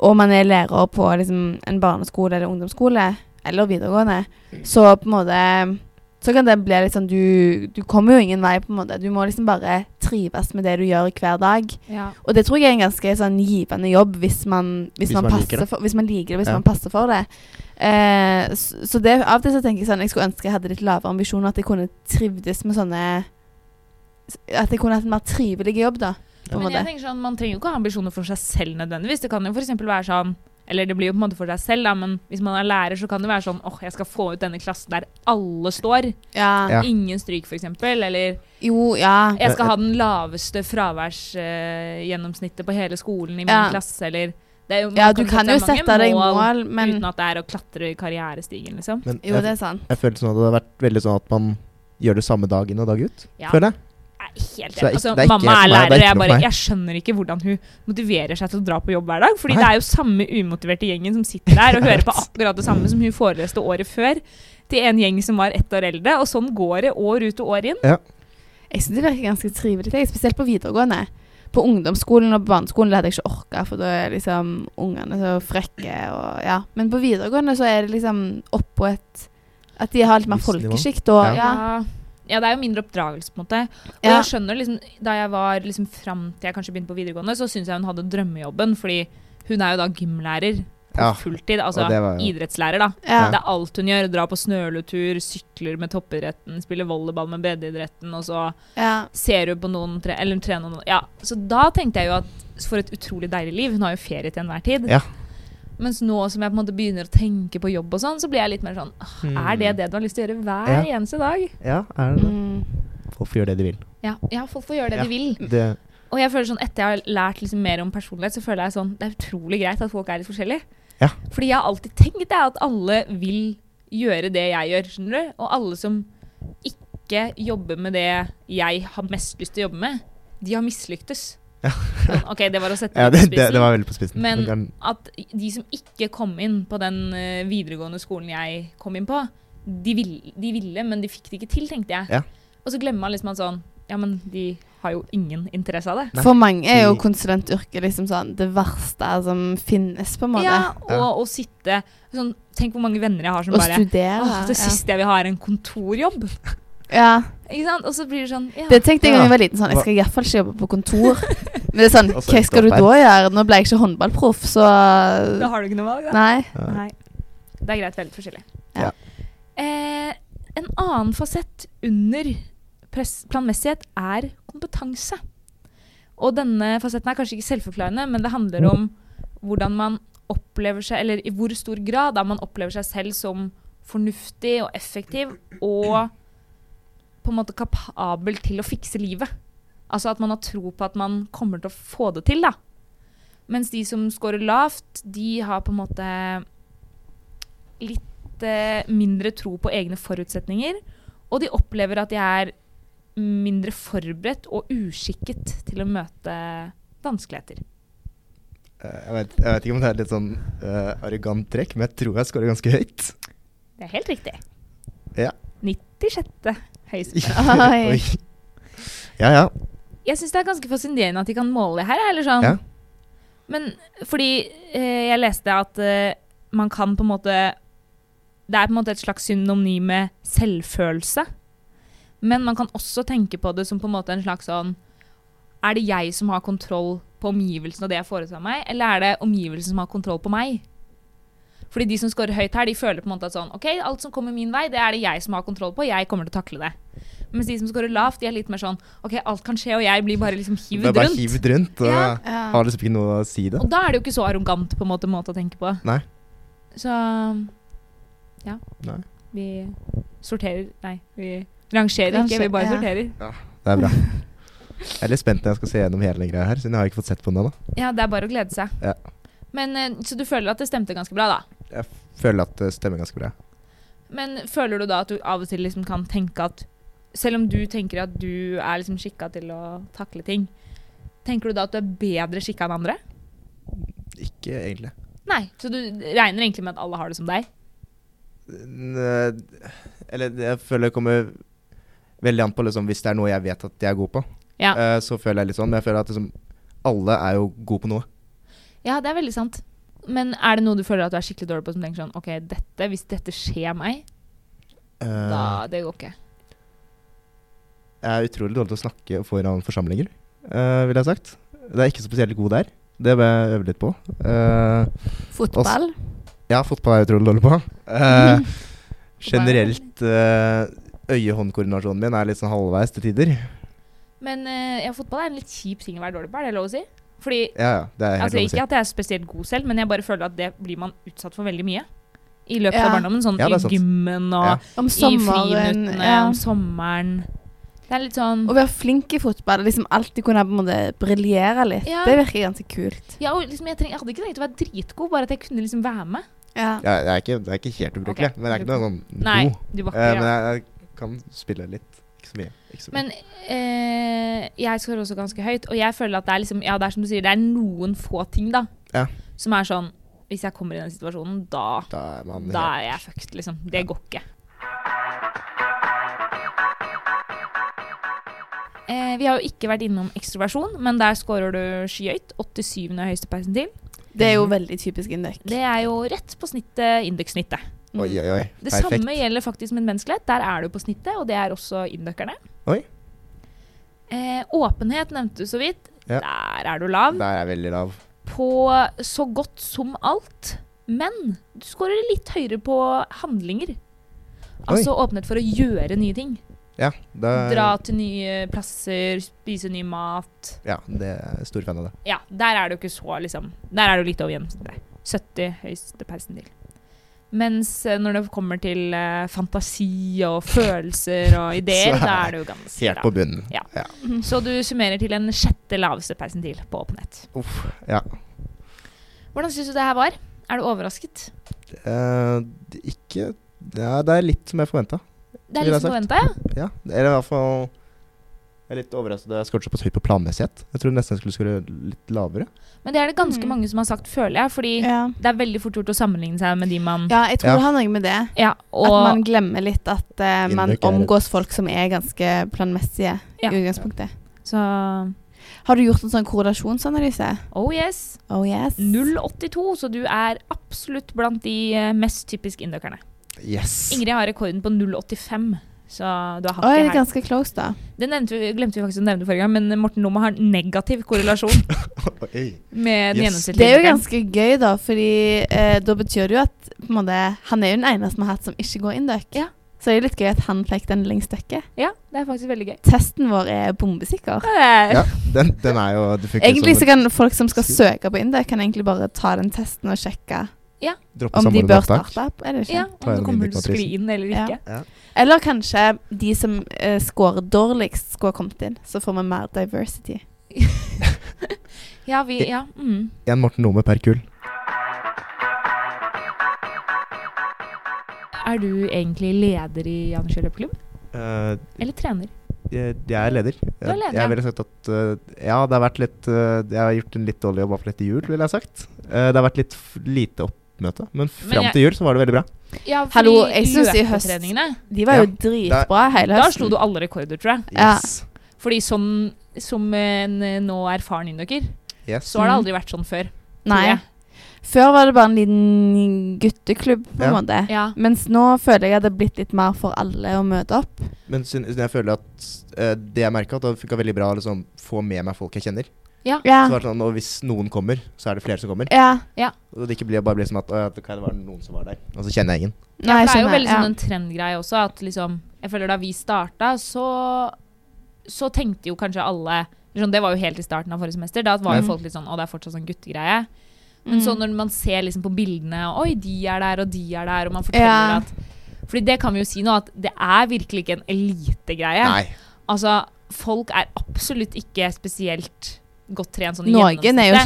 Speaker 2: og man er lærer på liksom, en barneskole eller ungdomsskole, eller videregående,
Speaker 3: Mm.
Speaker 2: så på en måte så kan det bli litt sånn du, du kommer jo ingen vei, på en måte. Du må liksom bare trives med det du gjør hver dag.
Speaker 1: Ja.
Speaker 2: Og det tror jeg er en ganske sånn givende jobb hvis man, hvis
Speaker 3: Hvis
Speaker 2: man,
Speaker 3: man liker
Speaker 2: passer
Speaker 3: det.
Speaker 2: for, hvis man liker det, hvis
Speaker 3: Ja.
Speaker 2: man passer for det. Eh, så, så det, av og til så tenker jeg sånn Jeg skulle ønske jeg hadde litt lavere ambisjoner, at jeg kunne trivdes med sånne At jeg kunne hatt en mer trivelig jobb, da. På en
Speaker 1: Men
Speaker 2: måte.
Speaker 1: jeg tenker sånn, Man trenger jo ikke ha ambisjoner for seg selv nødvendigvis. Det kan jo for eksempel være sånn eller det blir jo på en måte for seg selv, da, men hvis man er lærer, så kan det være sånn åh, jeg skal få ut denne klassen der alle står.
Speaker 2: Ja.
Speaker 3: Ja.
Speaker 1: Ingen stryk, f.eks. Eller
Speaker 2: Jo, ja.
Speaker 1: jeg skal ha den laveste fraværsgjennomsnittet på hele skolen i min
Speaker 2: Ja.
Speaker 1: klasse, eller det er jo, man
Speaker 2: Ja, du
Speaker 1: jo
Speaker 2: kan jo sette
Speaker 1: mange
Speaker 2: deg mål, men
Speaker 1: uten at det er å klatre i karrierestigen, liksom.
Speaker 3: Men
Speaker 2: Jo, det
Speaker 3: jeg,
Speaker 2: er sant.
Speaker 3: jeg føler sånn at det hadde vært veldig sånn at man gjør det samme dag inn og dag ut.
Speaker 1: Ja.
Speaker 3: Føler jeg.
Speaker 1: Jeg er helt
Speaker 3: Så det er
Speaker 1: enig.
Speaker 3: ikke-
Speaker 1: Altså,
Speaker 3: det er ikke
Speaker 1: mamma
Speaker 3: helt
Speaker 1: er
Speaker 3: for meg, det er
Speaker 1: lærer, og
Speaker 3: ikke
Speaker 1: jeg,
Speaker 3: noe for
Speaker 1: bare,
Speaker 3: meg.
Speaker 1: jeg skjønner ikke hvordan hun motiverer seg til å dra på jobb hver dag. Fordi
Speaker 3: Nei.
Speaker 1: det er jo samme umotiverte gjengen som sitter der og hører på akkurat det samme som hun foreleste året før. Til en gjeng som var ett år eldre. Og sånn går det år ut og år inn.
Speaker 2: Jeg syns det virker ganske trivelig, jeg, spesielt på videregående. På ungdomsskolen og på barneskolen det hadde jeg ikke orka, for da er liksom ungene så frekke. Og, ja. Men på videregående så er det liksom oppå et At de har litt mer
Speaker 3: Livsnivå.
Speaker 2: folkesjikt. Og, ja.
Speaker 1: Ja. ja, det er jo mindre oppdragelse, på en måte. Og
Speaker 2: Ja.
Speaker 1: jeg skjønner liksom, Da jeg var liksom fram til jeg kanskje begynte på videregående, så syns jeg hun hadde drømmejobben. Fordi hun er jo da gymlærer på
Speaker 3: Ja,
Speaker 1: fulltid. Altså
Speaker 3: og det var jo-
Speaker 1: idrettslærer, da.
Speaker 2: Ja.
Speaker 1: Det er alt hun gjør. Drar på snøletur, sykler med toppidretten, spiller volleyball med breddeidretten, og så
Speaker 2: Ja.
Speaker 1: ser hun på noen tre, eller trener noen Ja, så da tenkte jeg jo at for et utrolig deilig liv. Hun har jo ferie til enhver tid.
Speaker 3: Ja.
Speaker 1: Mens nå som jeg på en måte begynner å tenke på jobb og sånn, så blir jeg litt mer sånn «Åh, Er det det du har lyst til å gjøre hver
Speaker 3: Mm. Ja.
Speaker 1: eneste dag?
Speaker 3: Ja, er det det?
Speaker 2: Mm.
Speaker 3: Folk får gjøre det de vil.
Speaker 1: Ja, ja, folk får gjøre det
Speaker 3: Ja.
Speaker 1: de vil.
Speaker 3: Det,
Speaker 1: Og jeg føler sånn, etter jeg har lært liksom mer om personlighet, så føler jeg sånn, det er utrolig greit at folk er litt forskjellige.
Speaker 3: Ja.
Speaker 1: Fordi jeg har alltid tenkt det, at alle vil gjøre det jeg gjør, skjønner du? Og alle som ikke jobber med det jeg har mest lyst til å jobbe med, de har mislyktes.
Speaker 3: Ja.
Speaker 1: Sånn, ok, det var å sette
Speaker 3: ja,
Speaker 1: det på
Speaker 3: det, det,
Speaker 1: spissen.
Speaker 3: det var veldig på spissen.
Speaker 1: Men-
Speaker 3: kan,
Speaker 1: At de som ikke kom inn på den eh, videregående skolen jeg kom inn på, de, vil, de ville, men de fikk det ikke til, tenkte jeg.
Speaker 3: Ja.
Speaker 1: Og så glemmer man liksom at sånn, ja, men de har jo ingen interesse av det.
Speaker 3: Nei.
Speaker 2: For mange er jo
Speaker 3: De-
Speaker 2: konsulentyrket liksom sånn det verste som finnes, på en måte.
Speaker 1: Ja,
Speaker 3: Ja.
Speaker 1: og å sitte sånn, Tenk hvor mange venner jeg har som
Speaker 2: Å
Speaker 1: bare
Speaker 2: studere.
Speaker 1: Åh, det
Speaker 2: ja.
Speaker 1: siste jeg vil ha, er en kontorjobb.
Speaker 2: ja.
Speaker 1: Ikke sant? Og så blir det sånn ja.
Speaker 2: Det tenkte jeg da
Speaker 3: Ja.
Speaker 2: jeg var liten. sånn, Jeg skal iallfall ikke jobbe på kontor. Men det er sånn,
Speaker 3: Og så
Speaker 2: hva
Speaker 3: endte
Speaker 2: skal du
Speaker 3: opp
Speaker 2: da gjøre? Nå ble jeg ikke håndballproff, så
Speaker 1: Da har du ikke noe valg, da.
Speaker 2: Nei.
Speaker 3: ja.
Speaker 1: Nei. Det er greit. Veldig forskjellig.
Speaker 2: Ja.
Speaker 1: Eh, en annen fasett under press planmessighet er kompetanse. Og denne fasetten er kanskje ikke selvforklarende, men det handler om hvordan man opplever seg, eller i hvor stor grad da man opplever seg selv som fornuftig og effektiv og på en måte kapabel til å fikse livet. Altså at man har tro på at man kommer til å få det til, da. Mens de som scorer lavt, de har på en måte litt eh, mindre tro på egne forutsetninger. Og de opplever at de er mindre forberedt og uskikket til å møte vanskeligheter.
Speaker 3: Eh, Jeg vet, jeg vet ikke om det er litt sånn eh, arrogant trekk, men jeg tror jeg scorer ganske høyt.
Speaker 1: Det er helt riktig.
Speaker 3: Ja.
Speaker 1: 96. høyeste.
Speaker 2: Oi.
Speaker 3: Oi. Ja, ja.
Speaker 1: Jeg syns det er ganske fascinerende at de kan måle det her. Eller sånn.
Speaker 3: Ja.
Speaker 1: Men fordi eh, jeg leste at eh, man kan på en måte Det er på en måte et slags synonym med selvfølelse. Men man kan også tenke på det som på en måte en slags sånn Er det jeg som har kontroll på omgivelsene og det jeg foretar meg, eller er det omgivelsene som har kontroll på meg? Fordi de som scorer høyt her, de føler på en måte at sånn OK, alt som kommer min vei, det er det jeg som har kontroll på, jeg kommer til å takle det. Mens de som scorer lavt, de er litt mer sånn OK, alt kan skje, og jeg blir bare liksom
Speaker 3: Det er
Speaker 1: hivd
Speaker 3: bare
Speaker 1: rundt.
Speaker 3: hivd rundt. Og
Speaker 1: Ja.
Speaker 2: Ja.
Speaker 3: Har liksom ikke noe å si det.
Speaker 1: Og da er det jo ikke så arrogant på en måte, måte å tenke på.
Speaker 3: Nei.
Speaker 1: Så ja.
Speaker 3: Nei.
Speaker 1: Vi sorterer Nei, vi rangerer ikke, vi bare
Speaker 2: Ranger- ja.
Speaker 1: sorterer.
Speaker 3: Det er bra. Jeg er litt spent når jeg skal se gjennom hele den greia her, siden jeg har ikke fått sett på den ennå.
Speaker 1: Ja, det er bare å glede seg.
Speaker 3: Ja.
Speaker 1: Men, eh, så du føler at det stemte ganske bra, da.
Speaker 3: Føler at det stemmer ganske bra.
Speaker 1: Men føler du da at du av og til liksom kan tenke at Selv om du tenker at du er liksom skikka til å takle ting, tenker du da at du er bedre skikka enn andre?
Speaker 3: Ikke egentlig.
Speaker 1: Nei. Så du regner egentlig med at alle har det som deg?
Speaker 3: N- Eller det- jeg føler det kommer veldig an på liksom, hvis det er noe jeg vet at jeg er god på.
Speaker 1: Ja.
Speaker 3: eh, Så føler jeg litt sånn. Men jeg føler at liksom, alle er jo gode på noe.
Speaker 1: Ja, det er veldig sant. Men er det noe du føler at du er skikkelig dårlig på, som tenker sånn OK, dette, hvis dette skjer meg,
Speaker 3: Eh,
Speaker 1: da Det går ikke.
Speaker 3: Jeg er utrolig dårlig til å snakke foran forsamlinger, uh, vil jeg ha sagt. Det er ikke så spesielt god der. Det bør jeg øve litt på. Eh,
Speaker 2: Fotball.
Speaker 3: ja, fotball er jeg utrolig dårlig på. Eh, generelt eh, øye-hånd-koordinasjonen min er litt sånn halvveis til tider.
Speaker 1: Men eh, ja, fotball er en litt kjip ting å være dårlig på, er det lov å si? Fordi
Speaker 3: Ja, ja, det er helt
Speaker 1: Altså,
Speaker 3: lov å si.
Speaker 1: ikke at jeg er spesielt god selv, men jeg bare føler at det blir man utsatt for veldig mye. I løpet av
Speaker 2: Ja.
Speaker 1: barndommen. Sånn
Speaker 3: Ja, det er sant.
Speaker 1: i gymmen og
Speaker 3: Ja.
Speaker 2: Om
Speaker 1: i
Speaker 2: sommeren.
Speaker 1: friminuttene,
Speaker 2: Ja.
Speaker 1: om sommeren. Det er litt sånn
Speaker 2: Å være flink i fotball og liksom alltid kunne på en måte briljere litt,
Speaker 1: Ja.
Speaker 2: det virker ganske kult.
Speaker 1: Ja, og liksom, jeg, treng, jeg hadde ikke trengt å være dritgod, bare at jeg kunne liksom være med.
Speaker 2: Ja.
Speaker 3: Ja, det, er ikke, det er ikke helt ubrukelig,
Speaker 1: Ok.
Speaker 3: men det er ikke noe sånn
Speaker 1: Nei,
Speaker 3: god.
Speaker 1: du var
Speaker 3: Eh,
Speaker 1: ikke
Speaker 3: men
Speaker 1: ja.
Speaker 3: jeg, jeg kan spille litt. Ikke så mye. Ikke så mye.
Speaker 1: Men eh, jeg skårer også ganske høyt, og jeg føler at det er liksom Ja, det er som du sier, det er noen få ting, da,
Speaker 3: Ja.
Speaker 1: som er sånn Hvis jeg kommer i den situasjonen, da
Speaker 3: da er man
Speaker 1: Da er jeg fucked, liksom. Det går ikke. Eh, vi har jo ikke vært innom ekstroversjon, men der scorer du skyhøyt. 87. høyeste persentil.
Speaker 2: Det er jo veldig typisk Indøk.
Speaker 1: Det er jo rett på snittet, indøksnittet.
Speaker 2: Mm.
Speaker 3: Oi, oi, oi.
Speaker 1: Det
Speaker 3: Perfekt.
Speaker 1: samme gjelder faktisk med menneskelighet. Der er du på snittet, og det er også indøkerne.
Speaker 3: Oi.
Speaker 1: Eh, åpenhet nevnte du så vidt.
Speaker 3: Ja.
Speaker 1: Der er du lav.
Speaker 3: Der er jeg veldig lav.
Speaker 1: På så godt som alt. Men du scorer litt høyere på handlinger. Altså åpenhet for å gjøre nye ting.
Speaker 3: Ja, da,
Speaker 1: Dra til nye plasser, spise ny mat.
Speaker 3: ja, det er jeg stor fan av det.
Speaker 1: Ja, der er det jo ikke så, liksom. Der er det jo litt over gjennomsnittet. 70 høyeste persentil. Mens eh, når det kommer til eh, fantasi og følelser og ideer,
Speaker 3: Så er
Speaker 1: da er det jo ganske
Speaker 3: Helt på
Speaker 1: lavt.
Speaker 3: bunnen.
Speaker 1: Ja. Så du summerer til en sjette laveste persentil på åpenhet.
Speaker 3: Uff, ja.
Speaker 1: Hvordan syns du det her var? Er du overrasket?
Speaker 3: Eh, det- ikke ja, Det er litt som jeg forventa.
Speaker 1: Det er
Speaker 3: Vil jeg
Speaker 1: litt
Speaker 3: ha sagt.
Speaker 1: forventa, ja.
Speaker 3: Ja. Eller i hvert fall Jeg er litt overrasket da jeg skåret såpass høyt på planmessighet. Jeg trodde nesten jeg skulle skåre litt lavere.
Speaker 1: Men det er det ganske
Speaker 2: Mm.
Speaker 1: mange som har sagt, føler jeg. Fordi
Speaker 2: Ja.
Speaker 1: det er veldig fort gjort å sammenligne seg med de man
Speaker 2: ja, jeg tror
Speaker 3: Ja.
Speaker 2: det har noe med det.
Speaker 1: Ja, og
Speaker 2: At man glemmer litt at eh, man
Speaker 3: Indøk er-
Speaker 2: omgås folk som er ganske planmessige
Speaker 1: Ja.
Speaker 2: i utgangspunktet.
Speaker 1: Så
Speaker 2: Har du gjort en sånn korrelasjonsanalyse?
Speaker 1: Oh yes.
Speaker 2: Oh yes.
Speaker 1: 0,82, så du er absolutt blant de eh, mest typisk indokerne.
Speaker 3: Yes.
Speaker 1: Ingrid har rekorden på 0,85, så du har
Speaker 2: Oi,
Speaker 1: hakket
Speaker 2: det er
Speaker 1: her.
Speaker 2: ganske close, da.
Speaker 1: Det nevnte vi, glemte vi faktisk å nevne forrige gang, men Morten Lomme har negativ korrelasjon
Speaker 3: Oi.
Speaker 1: med den
Speaker 3: Yes.
Speaker 1: gjennomsnittlige
Speaker 2: Det er jo
Speaker 1: indokeren.
Speaker 2: ganske gøy, da, fordi eh, da betyr det jo at på en måte, han er jo den eneste vi har hatt som ikke går indøk.
Speaker 1: Ja.
Speaker 2: Så det er jo litt gøy at han fikk den lengst vekke.
Speaker 1: Ja, det er faktisk veldig gøy.
Speaker 2: Testen vår er bombesikker.
Speaker 1: Ja.
Speaker 3: Ja, den, den er jo liksom Det funker
Speaker 2: Egentlig så
Speaker 3: som
Speaker 2: kan folk som skal
Speaker 3: Sikkert.
Speaker 2: søke på indøk, kan egentlig bare ta den testen og sjekke
Speaker 3: droppe
Speaker 2: om de
Speaker 3: samordnet
Speaker 2: bør
Speaker 3: opptak.
Speaker 2: starte opp, er det ikke?
Speaker 1: ja,
Speaker 3: Ta
Speaker 1: om
Speaker 3: en
Speaker 1: det kommer
Speaker 3: liten
Speaker 1: til å skli inn eller
Speaker 2: Ja.
Speaker 1: ikke.
Speaker 2: Eller kanskje de som eh, scorer dårligst, skulle ha kommet inn. Så får vi mer diversity.
Speaker 1: Ja, vi, ja. Mm.
Speaker 3: En Morten Nome per kull.
Speaker 1: Er du egentlig leder i Janus løpeklubb?
Speaker 3: Eh,
Speaker 1: Eller trener?
Speaker 3: jeg, jeg er leder.
Speaker 1: er leder,
Speaker 3: jeg
Speaker 1: ja.
Speaker 3: ville sagt at eh, Ja, det har vært litt eh, Jeg har gjort en litt dårlig jobb akkurat etter jul, ville jeg sagt. Eh, det har vært litt f lite oppmøte, men fram
Speaker 1: jeg-
Speaker 3: til jul så var det veldig bra.
Speaker 1: Ja,
Speaker 2: Hallo, jeg synes i høst-
Speaker 1: løpetreningene,
Speaker 2: De var
Speaker 3: Ja.
Speaker 2: jo dritbra hele
Speaker 1: Da
Speaker 2: høsten.
Speaker 1: slo du alle rekorder, tror jeg.
Speaker 2: Ja.
Speaker 3: Yes.
Speaker 1: Fordi sånn som en eh, nå erfaren indoker,
Speaker 3: yes.
Speaker 1: så har det
Speaker 2: Mm.
Speaker 1: aldri vært sånn før.
Speaker 2: Nei.
Speaker 1: tror jeg.
Speaker 2: Før var det bare en liten gutteklubb, på en
Speaker 3: Ja.
Speaker 2: måte.
Speaker 1: Ja.
Speaker 2: Mens nå føler jeg at det er blitt litt mer for alle å møte opp.
Speaker 3: Men syn- syn- jeg føler at eh, det jeg merka, at det funka veldig bra å liksom, få med meg folk jeg kjenner.
Speaker 2: Ja.
Speaker 3: Så var det sånn, Og hvis noen kommer, så er det flere som kommer.
Speaker 2: ja.
Speaker 3: Og det ikke blir, bare blir som at «Å, ja, det var noen som var der, og så kjenner jeg ingen.
Speaker 2: Nei,
Speaker 1: det er jo
Speaker 2: skjønner,
Speaker 1: veldig
Speaker 2: ja.
Speaker 1: sånn en trendgreie også, at liksom Jeg føler da vi starta, så Så tenkte jo kanskje alle sånn, Det var jo helt i starten av forrige semester. Da var jo
Speaker 2: Mm.
Speaker 1: folk litt sånn Å, det er fortsatt sånn guttegreie. Men så
Speaker 2: sånn
Speaker 1: når man ser liksom på bildene Oi, de er der, og de er der, og man forteller
Speaker 2: Ja.
Speaker 1: at Fordi det kan vi jo si nå, at det er virkelig ikke en elitegreie.
Speaker 3: Nei.
Speaker 1: Altså, folk er absolutt ikke spesielt godt trent sånn i
Speaker 2: Noen er jo
Speaker 1: gjennomsnittet.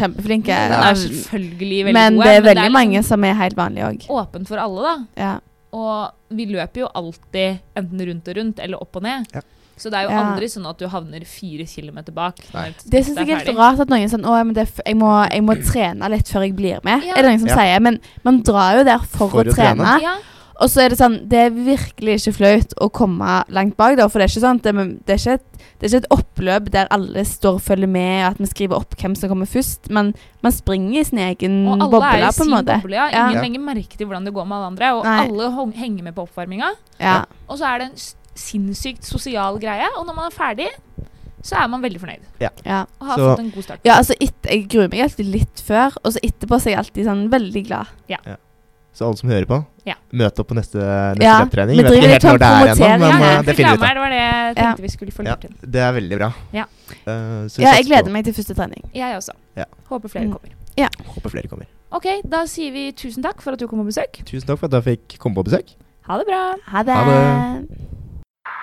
Speaker 1: Noen
Speaker 2: kjempeflinke.
Speaker 3: Ja.
Speaker 1: er selvfølgelig veldig
Speaker 2: Men
Speaker 1: gode.
Speaker 2: det er veldig
Speaker 1: liksom
Speaker 2: mange som er helt vanlige òg.
Speaker 1: åpent for alle, da.
Speaker 2: Ja.
Speaker 1: Og vi løper jo alltid enten rundt og rundt eller opp og ned.
Speaker 3: Ja.
Speaker 1: Så det er jo
Speaker 2: Ja.
Speaker 1: aldri sånn at du havner fire kilometer bak.
Speaker 3: Nei.
Speaker 1: når
Speaker 2: Det syns
Speaker 1: er
Speaker 2: jeg er helt
Speaker 1: ferdig.
Speaker 2: rart at noen er sånn Å, men det, er f- jeg, må, jeg må trene litt før jeg blir med.
Speaker 1: Ja.
Speaker 2: Er det noen som
Speaker 3: Ja.
Speaker 2: sier. Men man drar jo der for, å, trene.
Speaker 1: Ja,
Speaker 2: Og så er det sånn, det er virkelig ikke flaut å komme langt bak, da, for det er ikke sånn, det, er- det, er ikke et, det er ikke et oppløp der alle står og følger med, og at vi skriver opp hvem som kommer først, men man springer i sin egen
Speaker 1: Og alle er
Speaker 2: boble,
Speaker 1: i
Speaker 2: Mm, på en
Speaker 1: sin
Speaker 2: måte.
Speaker 1: boble. Ja.
Speaker 2: Ja.
Speaker 1: Ingen
Speaker 3: Ja.
Speaker 1: legger merke til hvordan det går med alle andre. Og
Speaker 2: Nei.
Speaker 1: alle hong- henger med på oppvarminga.
Speaker 2: Ja.
Speaker 1: Og så er det en s- sinnssykt sosial greie. Og når man er ferdig, så er man veldig fornøyd.
Speaker 2: Ja.
Speaker 1: Og har
Speaker 3: Så-
Speaker 1: fått en god start.
Speaker 2: ja, altså, et, jeg gruer meg alltid litt før, og så etterpå så er jeg alltid sånn veldig glad.
Speaker 3: Så alle som hører på,
Speaker 1: Ja.
Speaker 3: møt opp på neste, neste
Speaker 2: Ja,
Speaker 3: løptrening.
Speaker 2: vi
Speaker 3: Vet
Speaker 2: driver
Speaker 3: ikke
Speaker 2: litt
Speaker 3: helt når det
Speaker 2: sånn
Speaker 3: er ennå,
Speaker 1: Ja,
Speaker 3: men
Speaker 2: promotering,
Speaker 3: eh,
Speaker 2: ja.
Speaker 3: det finner vi ut
Speaker 1: reklamer, det var det jeg
Speaker 2: Ja.
Speaker 1: tenkte vi skulle få
Speaker 3: Ja.
Speaker 1: lurt inn.
Speaker 3: av. Det er veldig bra.
Speaker 1: Ja.
Speaker 3: Eh, så vi
Speaker 2: Ja,
Speaker 3: satser
Speaker 2: jeg gleder
Speaker 3: på-
Speaker 2: meg til første trening.
Speaker 1: Jeg også.
Speaker 3: Ja.
Speaker 1: Håper flere
Speaker 2: Mm.
Speaker 1: kommer.
Speaker 3: Håper flere kommer.
Speaker 1: Ok, da sier vi tusen takk for at du kom på besøk.
Speaker 3: Tusen takk for at jeg fikk komme på besøk.
Speaker 1: Ha det bra.
Speaker 2: Ha det!
Speaker 3: Ha